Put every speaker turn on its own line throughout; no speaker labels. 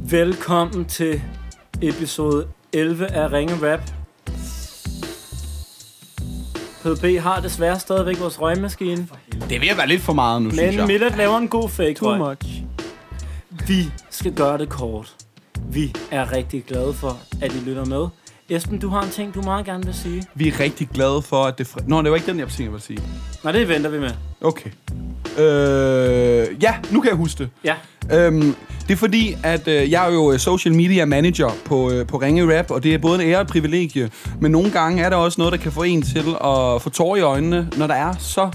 Velkommen til episode 11 af Ringe Rap. PDP har desværre stadigvæk vores røgmaskine,
Det er ved at være lidt for meget nu, synes
men
jeg.
Millet laver en god fake
Too
røg.
much.
Vi skal gøre det kort. Vi er rigtig glade for, at I lytter med. Esben, du har en ting, du meget gerne vil sige.
Vi er rigtig glade for, at det... Fre- Nå, det var ikke den, jeg tænkte, jeg ville sige.
Nej, det venter vi med.
Okay. Øh, ja, nu kan jeg huske det.
Ja,
Øhm, det er fordi, at øh, jeg er jo øh, social media manager på, øh, på Ringe Rap, og det er både en ære og et privilegie, men nogle gange er der også noget, der kan få en til at få tårer i øjnene, når der er så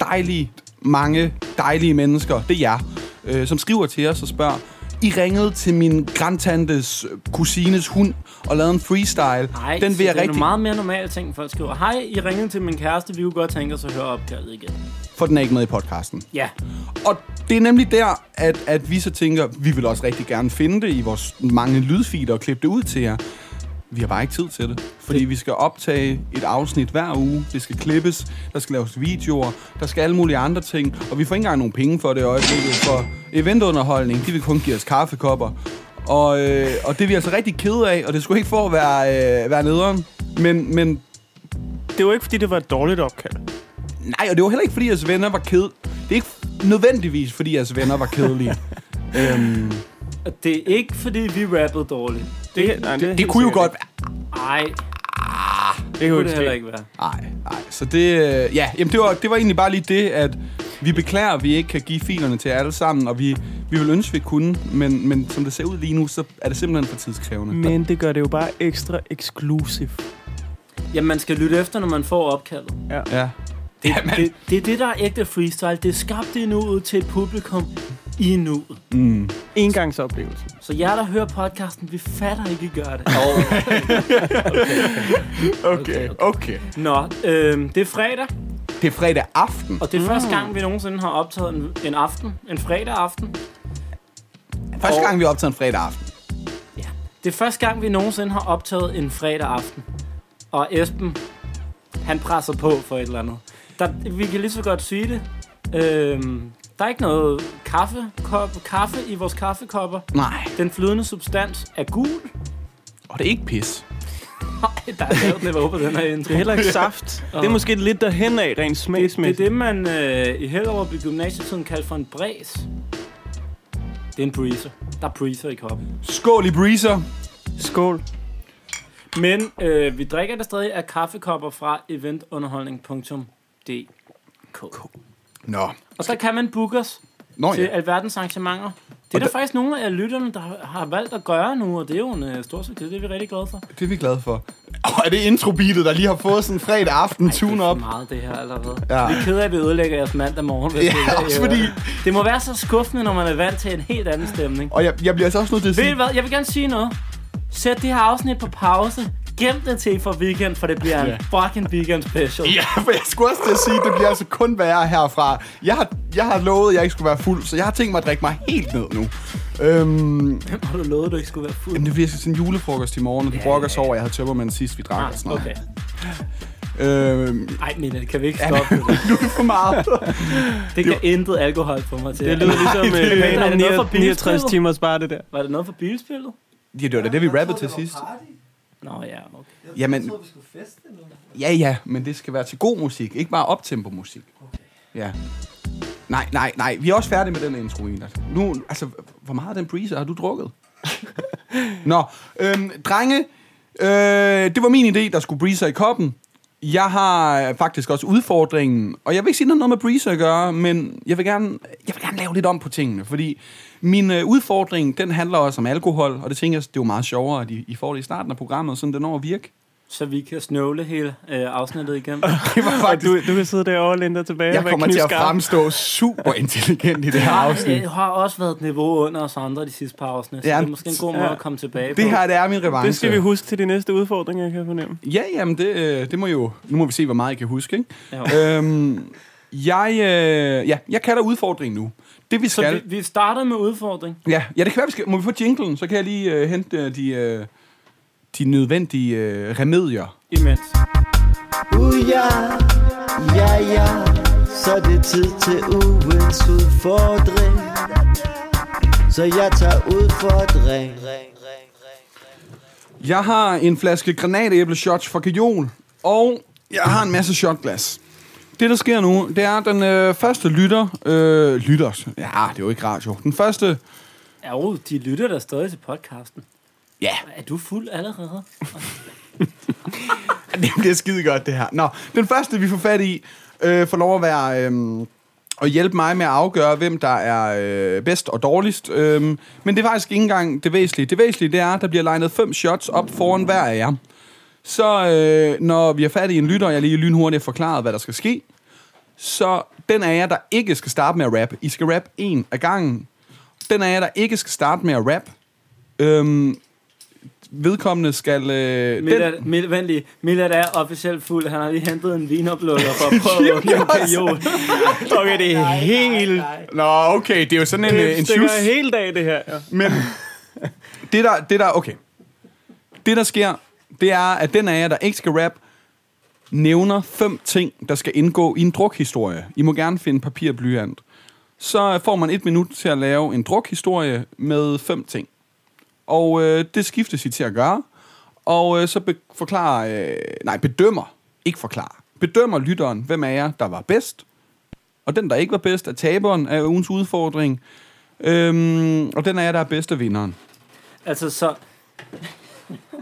dejlige, mange dejlige mennesker, det er jer, øh, som skriver til os og spørger, I ringede til min grandtantes øh, kusines hund og lavede en freestyle.
Ej,
den vil jeg
det er
rigtig...
nogle meget mere normale ting, folk skriver. Hej, I ringede til min kæreste, vi kunne godt tænke os at høre opkaldet igen.
For den er ikke med i podcasten.
Ja,
Og det er nemlig der, at, at vi så tænker, vi vil også rigtig gerne finde det i vores mange lydfiler og klippe det ud til jer. Vi har bare ikke tid til det, fordi vi skal optage et afsnit hver uge. Det skal klippes, der skal laves videoer, der skal alle mulige andre ting. Og vi får ikke engang nogen penge for det i øjeblikket, for eventunderholdning, de vil kun give os kaffekopper. Og, øh, og det er vi altså rigtig kede af, og det skulle ikke for at være, øh, være nederen. Men, men
Det var ikke, fordi det var et dårligt opkald.
Nej, og det var heller ikke, fordi jeres venner var ked. Det er ikke nødvendigvis, fordi jeres venner var kedelige. øhm,
og det er ikke, fordi vi rappede dårligt.
Det, kan- nej,
det kunne jo godt være.
Ej,
Det
det
kunne
kunne det
ikke
heller
ske.
ikke være.
Nej, nej. Så det, øh, ja, jamen det, var, det var egentlig bare lige det, at vi beklager, at vi ikke kan give filerne til jer alle sammen, og vi, vi vil ønske, vi kunne, men, men som det ser ud lige nu, så er det simpelthen for tidskrævende.
Men det gør det jo bare ekstra eksklusiv.
Jamen, man skal lytte efter, når man får opkaldet.
Ja. Det, Jamen,
Det, det er det, der er ægte freestyle. Det er skabt i nuet til et publikum i nuet.
mm.
Engangsoplevelse.
Så jer, der hører podcasten, vi fatter ikke, I gør det.
okay, okay.
Nå, øhm, det er fredag,
Det er fredag aften.
og det er mm. første gang, vi nogensinde har optaget en, en aften. En fredag aften.
Første gang, vi optager en fredag aften.
Det er første gang, vi nogensinde har optaget en fredag aften. Og Esben, han presser på for et eller andet. Der, vi kan lige så godt sige det. Øhm, der er ikke noget kaffe, kop, kaffe i vores kaffekopper.
Nej,
Den flydende substans er gul.
og det er ikke pis.
Nej, der er lavet niveau på den her intro.
Det er heller ikke saft. det er måske lidt derhen af, rent
Det er
smagsmæssigt.
det, man øh, i Hellerup i gymnasietiden kaldte for en bræs. Det er en breezer. Der er breezer i koppen.
Skål i breezer.
Skål.
Men øh, vi drikker det stadig af kaffekopper fra eventunderholdning.dk.
Nå.
Og så kan man booke os
Nå
til
ja.
alverdens arrangementer. Det er der faktisk nogle af lytterne, der har valgt at gøre nu, og det er jo en øh, stor succes. Det er vi rigtig glade for.
Det er vi glade for. Og er det introbeatet, der lige har fået sådan en fredag aften tune
Det er
op?
for meget, det her allerede.
Ja.
Ja. Vi er ked af, at vi ødelægger jeres mandag morgen. hvis
Ja,
det er-
også fordi-
Det må være så skuffende, når man er vant til en helt anden stemning.
Og jeg, jeg bliver altså også nødt til at
Ved I
sige...
hvad? Jeg vil gerne sige noget. Sæt det her afsnit på pause. Gem det til for weekend, for det bliver en fucking weekend special.
Ja, for jeg skulle også til at sige, at det bliver altså kun værre herfra. Jeg har, jeg har lovet, at jeg ikke skulle være fuld, så jeg har tænkt mig at drikke mig helt ned nu. Øhm,
Har du lovet, at du ikke skulle være fuld?
jamen, det bliver sådan en julefrokost i morgen, og du brokker sig over, at jeg havde tømmermænd sidst, vi drak og sådan
Ah,
noget.
okay.
Øhm,
Ej, Mille, kan vi ikke stoppe det?
nu er det for meget.
Det kan intet alkohol få mig til.
Det lyder ligesom øh,
det-
planen
Er
om
det noget for
69 69
bilspillet?
timers bare det der.
Var det noget for bilspillet?
Ja, det var da det, vi rappede til sidst.
Nå ja, okay.
Jamen, ja, ja, men det skal være til god musik, ikke bare optempo musik. Ja. Nej, nej, nej. Vi er også færdige med den intro, Enert. Nu, altså, hvor meget af den breezer har du drukket? Nå, øhm, drenge, øh, det var min idé, der skulle breezer i koppen. Jeg har faktisk også udfordringen, og jeg vil ikke sige, at det har noget med breezer at gøre, men jeg vil gerne, jeg vil gerne lave lidt om på tingene, fordi min øh, udfordring, den handler også om alkohol, og det tænker jeg, det er jo meget sjovere, at I, I får det i starten af programmet, sådan det når at virke.
Så vi kan snøvle hele øh, afsnittet igennem.
Det var
Og du, du kan sidde derovre og læne dig tilbage. og
jeg
være
kommer til at
knivskarp.
fremstå super intelligent i det her afsnit.
Det har også været et niveau under os andre de sidste par afsnit, så
Ja,
det er måske en god måde
ja.
at komme tilbage
Det
på.
her, det er min revanche.
Det skal vi huske til de næste udfordringer, kan jeg fornemme.
Ja, jamen det, øh, det må jo... Nu må vi se, hvor meget I kan huske, ikke?
Ja.
øhm, jeg, øh, ja, jeg kalder udfordringen nu. Det vi
Så
skal...
vi, vi starter med udfordring.
Ja, ja, det kan være, vi skal... Må vi få jinglen? Så kan jeg lige øh, hente øh, de, øh, de nødvendige øh, remedier.
Imens.
Uh, ja, ja, ja, så er det tid til ugens udfordring. Så jeg tager ud for et ring
Jeg har en flaske granatæbleshots fra Kajol, og jeg har en masse shotglas. Det, der sker nu, det er, at den øh, første lytter... Øh, lytter? Ja, det er jo ikke radio. Den første...
Ja, jo, de lytter der stadig til podcasten.
Ja,
Er du fuld allerede?
det bliver skide godt, det her. Nå, den første, vi får fat i, øh, får lov at være... Øh, og hjælpe mig med at afgøre, hvem der er øh, bedst og dårligst. Øhm, men det er faktisk ikke engang det væsentlige. Det væsentlige det er, at der bliver legnet fem shots op foran hver af jer. Så øh, når vi er fat i en lytter, og jeg lige lynhurtigt har forklaret, hvad der skal ske, så den af jer, der ikke skal starte med at rappe, I skal rappe en af gangen. Den af jer, der ikke skal starte med at rappe, øhm, vedkommende skal... Øh, den,
Millard, Mil, vent lige. Millard er officielt fuld. Han har lige hentet en vinoplukker for at prøve at åbne en periode.
Okay, det er helt...
Nå, okay, det er jo sådan en, øh,
Det
en sjus.
stikker hele dag, det her. Ja.
Men det der, det der, okay. Det der sker, det er, at den af jer, der ikke skal rap, nævner fem ting, der skal indgå i en drukhistorie. I må gerne finde papir og blyant. Så får man et minut til at lave en drukhistorie med fem ting. Og øh, det skiftes I til at gøre. Og øh, så be- forklarer, øh, nej, bedømmer, ikke forklarer, bedømmer lytteren, hvem af jer, der var bedst. Og den, der ikke var bedst, er taberen af ugens udfordring. Øhm, og den af jer, der er bedst, er vinderen.
Altså, så...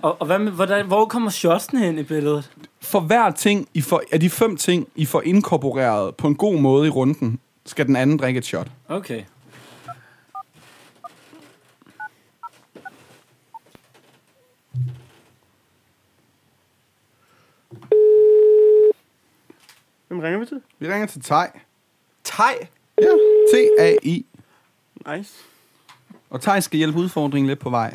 Og, og hvad med, hvordan, hvor kommer shotsene hen i billedet?
For hver ting, I får, af de fem ting, I får inkorporeret på en god måde i runden, skal den anden drikke et shot.
Okay.
Hvem ringer vi til?
Vi ringer til Tej. Tej? Ja, T-A-I.
Nice.
Og Tej skal hjælpe udfordringen lidt på vej.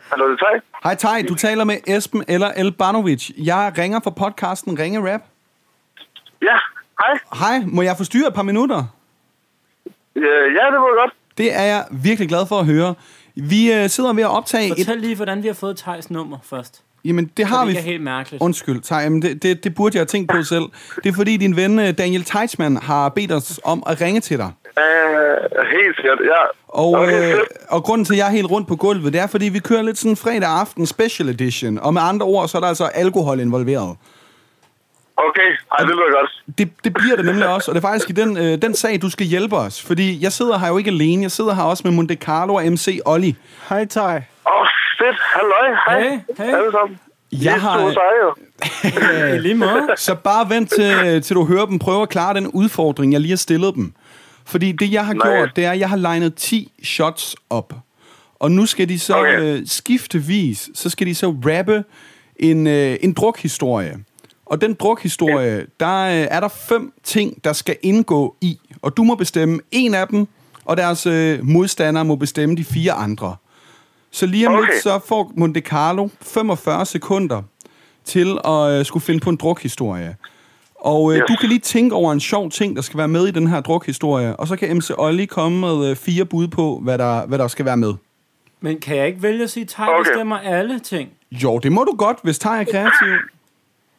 Hallo, det er Tej.
Hej Tej, du taler med Esben eller El Banovic. Jeg ringer fra podcasten Ringe Rap.
Ja, hej.
Hej, må jeg forstyrre et par minutter?
Øh, ja, det var godt.
Det er jeg virkelig glad for at høre. Vi øh, sidder ved at optage et...
Fortæl lige, hvordan vi har fået Tejs nummer først.
Jamen, det har
Har vi...
vi...
Det er helt mærkeligt.
Undskyld, Tej, jamen det, det, det burde jeg have tænkt på selv. Det er fordi, din ven øh, Daniel Teichmann har bedt os om at ringe til dig.
Øh, helt sikkert, ja.
Og,
Okay,
øh,
fedt.
og grunden til, at jeg er helt rundt på gulvet, det er, fordi vi kører lidt sådan en fredag aften special edition. Og med andre ord, så er der altså alkohol involveret.
Okay, hej, det lyder godt.
Det, det bliver det nemlig også, og det er faktisk i den, øh, den sag, du skal hjælpe os. Fordi jeg sidder her jo ikke alene, jeg sidder her også med Monte Carlo og MC Olli.
Hej, Tej.
Åh, oh, fedt. Halløj, hej.
Hey, hey.
Alle sammen.
Jeg
I er
har-
store seje, jo.
I lige måde.
Så bare vent til, til du hører dem prøve at klare den udfordring, jeg lige har stillet dem. Fordi det, jeg har
Nej.
gjort, det er, at jeg har legnet 10 shots op. Og nu skal de så
Okay.
øh, skiftevis, så skal de så rappe en, øh, en drukhistorie. Og den drukhistorie, der øh, er der fem ting, der skal indgå i. Og du må bestemme en af dem, og deres øh, modstandere må bestemme de fire andre. Så lige om okay.
Okay.
lidt, så får Monte Carlo 45 sekunder til at øh, skulle finde på en drukhistorie. Og øh,
Yes.
du kan lige tænke over en sjov ting, der skal være med i den her drukhistorie, og så kan MC Olli komme med øh, fire bud på, hvad der, hvad der skal være med.
Men kan jeg ikke vælge at sige, at Tej
Okay.
bestemmer alle ting?
Jo, det må du godt, hvis Tej er kreativ.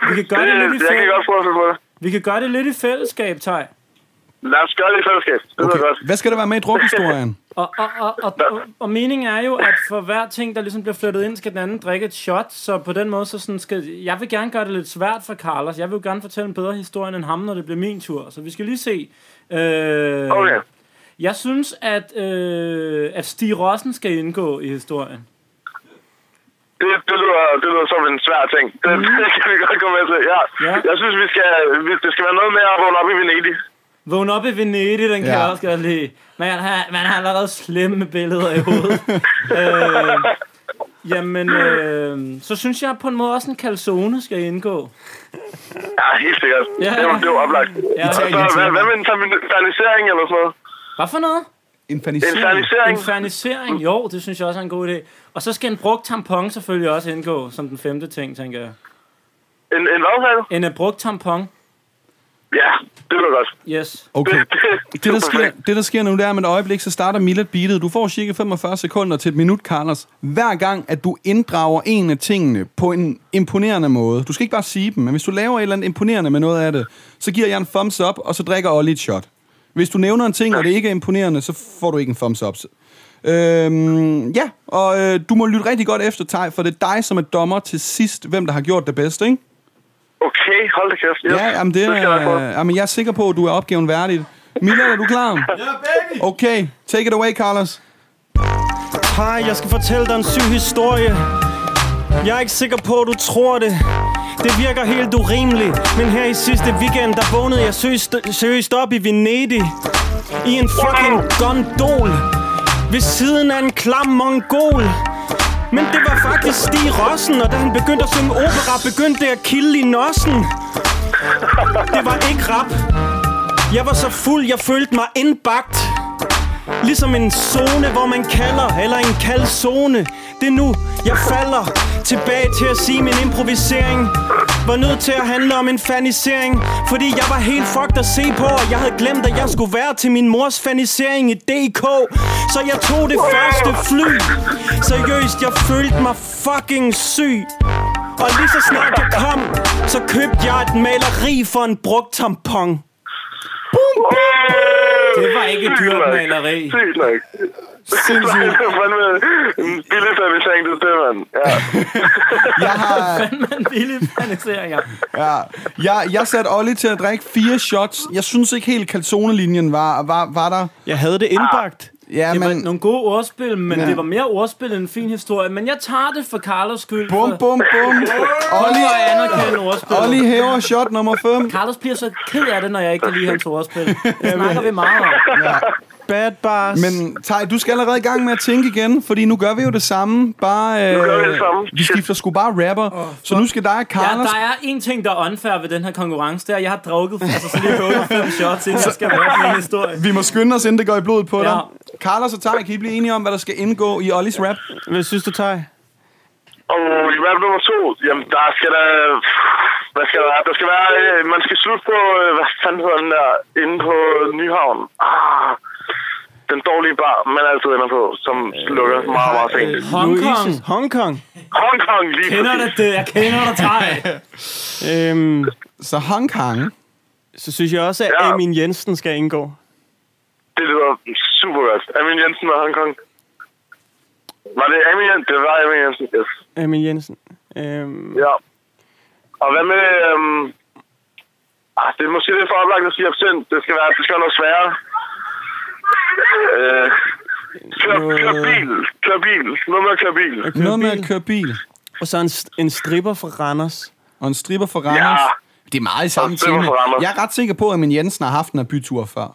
Vi kan gøre
Det,
det, lidt i
jeg kan
fællesskab.
godt forestille mig det.
Vi kan gøre det lidt i fællesskab, Tej.
Lad os gøre det i fællesskab. Det lyder godt.
Okay. Hvad skal der være med i drukhistorien?
Og, og, og, og, og, og meningen er jo, at for hver ting, der ligesom bliver flyttet ind, skal den anden drikke et shot. Så på den måde, så sådan skal... Jeg vil gerne gøre det lidt svært for Carlos. Jeg vil jo gerne fortælle en bedre historie end ham, når det bliver min tur. Så vi skal lige se. Øh,
Okay.
Jeg synes, at, øh, at Stig Rossen skal indgå i historien.
Det, det, lyder, det lyder som en svær ting. Det, mm. det kan vi godt komme med til. Ja.
Mhm. Ja.
Jeg synes, vi skal, vi, det skal være noget med at vågne op i Venedig.
Vågn op i Venedig, den kan
Ja.
jeg også godt lide. Man har, man har allerede slemme billeder i hovedet. øh, jamen, øh, så synes jeg på en måde også, en calzone skal indgå.
Ja, helt sikkert.
Ja.
Ja. Det, var, det var oplagt.
Ja.
Og så, hvad, hvad med en fernisering eller sådan noget?
Hvad for noget?
En
En
fanisering.
fernisering?
Infernisering, jo, det synes jeg også er en god idé. Og så skal en brugt tampon selvfølgelig også indgå, som den femte ting, tænker jeg.
En, en hvad sagde du?
En øh, brugt tampon,
Ja, det lyder godt.
yes.
Okay.
det,
Det der, sker, det, der sker nu, det er, at med et øjeblik, så starter Millet beatet. Du får cirka 45 sekunder til et minut, Carlos. Hver gang, at du inddrager en af tingene på en imponerende måde. Du skal ikke bare sige dem, men hvis du laver et eller andet imponerende med noget af det, så giver jeg en thumbs up, og så drikker Olli et shot. Hvis du nævner en ting, og det ikke er imponerende, så får du ikke en thumbs up. Øhm, ja, og øh, du må lytte rigtig godt efter, Tej, for det er dig, som er dommer til sidst, hvem der har gjort det bedste, ikke?
Okay, hold da kæft. Yes.
Ja, jamen det,
det skal jeg nok prøve.
er, jamen jeg er sikker på, at du er opgaven værdig. Miller, er du klar? Ja, baby! Okay, take it away, Carlos.
Hej, jeg skal fortælle dig en syg historie. Jeg er ikke sikker på, at du tror det. Det virker helt urimeligt, men her i sidste weekend, der vågnede jeg seriøst, seriøst op i Venedig. I en fucking gondol. Ved siden af en klam mongol. Men det var faktisk Stig Rossen, og da han begyndte at synge opera, begyndte det at kilde i nossen. Det var ikke rap. Jeg var så fuld, jeg følte mig indbagt. Ligesom en zone, hvor man kalder, eller en kaldzone. Det er nu, jeg falder tilbage til at sige min improvisering. Var nødt til at handle om en fanisering, fordi jeg var helt fucked at se på, og jeg havde glemt, at jeg skulle være til min mors fanisering i DK. Så jeg tog det første fly. Seriøst, jeg følte mig fucking syg. Og lige så snart jeg kom, så købte jeg et maleri for en brugt tampon.
Det var ikke et dyrt maleri.
Sygt nok. Nej,
Sindssygt.
det er fandme en billig servicering, det er det, mand. Ja.
Jeg har,
Men billig faniseringer.
Ja, jeg, jeg satte Olli til at drikke fire shots. Jeg synes ikke helt, kalsonelinjen var, var, var der.
Jeg havde det indbagt.
Ja,
Det var
men...
nogle gode ordspil, men det var mere ordspil end en fin historie. Men jeg tager det for Carlos skyld.
Bum,
for,
bum, bum. Olli,
for at anerkende ordspil.
Olli hæver shot nummer 5.
Carlos bliver så ked af det, når jeg ikke kan lide hans ordspil. Det snakker vi meget om.
Bad bars.
Men Tej, du skal allerede i gang med at tænke igen, fordi nu gør vi jo det samme. Bare, øh,
gør vi det samme.
Vi skifter sgu bare rapper. så nu skal dig og
Ja,
Carlos...
der er en ting, der er unfair ved den her konkurrence, det er, at jeg har drukket altså, så lige gået fem shots, inden jeg skal være med en historie.
Vi må skynde os, inden det går i blodet på
Ja.
dig. Carlos og Tej, kan I blive enige om, hvad der skal indgå i Ollis rap?
Hvad synes du, Tej?
Og i rap nummer to, jamen der skal der... Hvad skal der være? Der skal være... Øh, man skal slutte på... Øh, hvad fanden hedder den der? Inde på Nyhavn. Ah, den dårlige bar, man altid ender på, som lukker meget, meget sent.
øh,
Hong Kong.
Louise's Hong Kong.
Hong Kong lige
Kender dig
præcis.
det? Jeg kender dig, Tej.
Øhm,
Så Hong Kong.
så synes jeg også, at
Ja.
Amin Jensen skal indgå.
Det lyder super godt. Amin Jensen og Hong Kong. Var det Amin Jensen? Det var Amin Jensen, yes.
Amin Jensen. Øhm,
Ja. Og hvad med... Øhm, ah, det er måske lidt for oplagt at sige absint. Det skal være, det skal være noget sværere. Øh, kør, kør bil. Kør bil. Noget med at køre bil.
Noget med at køre bil.
og så en, st- en stripper fra Randers.
Og en stripper for Randers. Ja. Det er meget i samme
en stripper
tema.
fra Randers.
Jeg er ret sikker på, at min Jensen har haft en af byture før.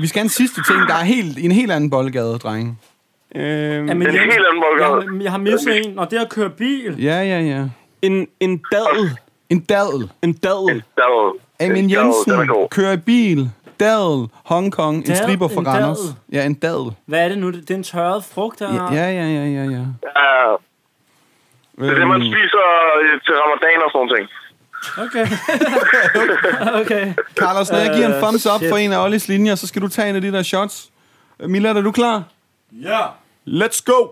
Vi skal have en sidste ting, der er helt, i en helt anden boldgade, drenge.
Øhm,
Jamen,
En helt anden boldgade.
jeg, jeg har misset en, og det er at køre bil.
Ja, ja, ja.
en, en dadel.
En dadel.
En dadel.
Der var,
Amin
der var- Den
Jensen
er god.
kører i bil. Dadel, Hong Kong, en
Dadel,
stripper for
en
Randers.
dadel.
Ja, en dadel.
Hvad er det nu? Det er en tørret frugt, der
Ja, ja, ja, ja, ja.
Ja, det er det, man
Øhm,
spiser øh, til ramadan og sådan noget. ting.
Okay. okay.
Carlos, når jeg giver en
Øh,
thumbs up
shit.
for en af Ollis linjer, så skal du tage en af de der shots. Øh, Millard, er du klar? Ja. Let's go!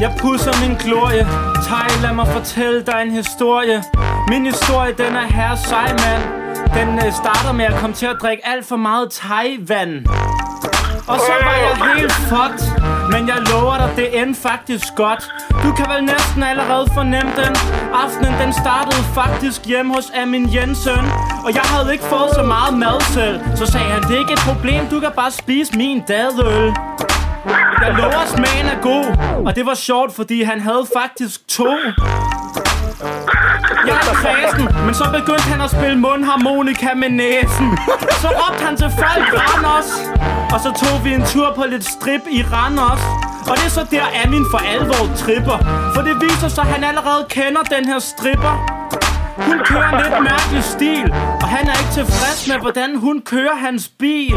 Jeg pusser min glorie Tej, lad mig fortælle dig en historie Min historie, den er herre sej, mand Den øh, starter med at komme til at drikke alt for meget thai-vand Og så var jeg helt fucked Men jeg lover dig, det endte faktisk godt Du kan vel næsten allerede fornemme den Aftenen, den startede faktisk hjemme hos Amin Jensen Og jeg havde ikke fået så meget mad selv Så sagde han, det er ikke et problem, du kan bare spise min dadøl jeg lover, smagen er god Og det var sjovt, fordi han havde faktisk to Jeg er kredsen, men så begyndte han at spille mundharmonika med næsen Så råbte han til folk Randers Og så tog vi en tur på lidt strip i Randers og det er så der Amin for alvor tripper For det viser sig, at han allerede kender den her stripper hun kører en lidt mærkelig stil, og han er ikke tilfreds med, hvordan hun kører hans bil.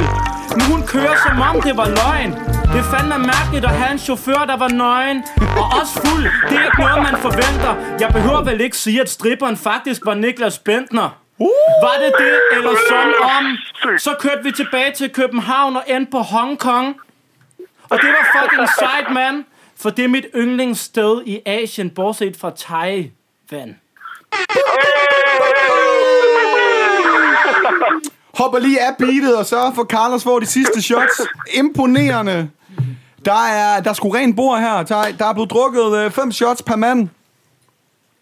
Men hun kører som om det var løgn. Det er fandme mærkeligt at have en chauffør, der var nøgen. Og også fuld, det er ikke noget, man forventer. Jeg behøver vel ikke sige, at stripperen faktisk var Niklas Bentner. Var det det, eller sådan om? Så kørte vi tilbage til København og endte på Hong Kong. Og det var fucking sejt, mand. For det er mit yndlingssted i Asien, bortset fra Taiwan.
Hey!
Hopper lige af beatet og sørger for, at Carlos får de sidste shots. Imponerende. Der er, der er sgu rent bord her. Der, er- der er blevet drukket øh, fem shots per mand.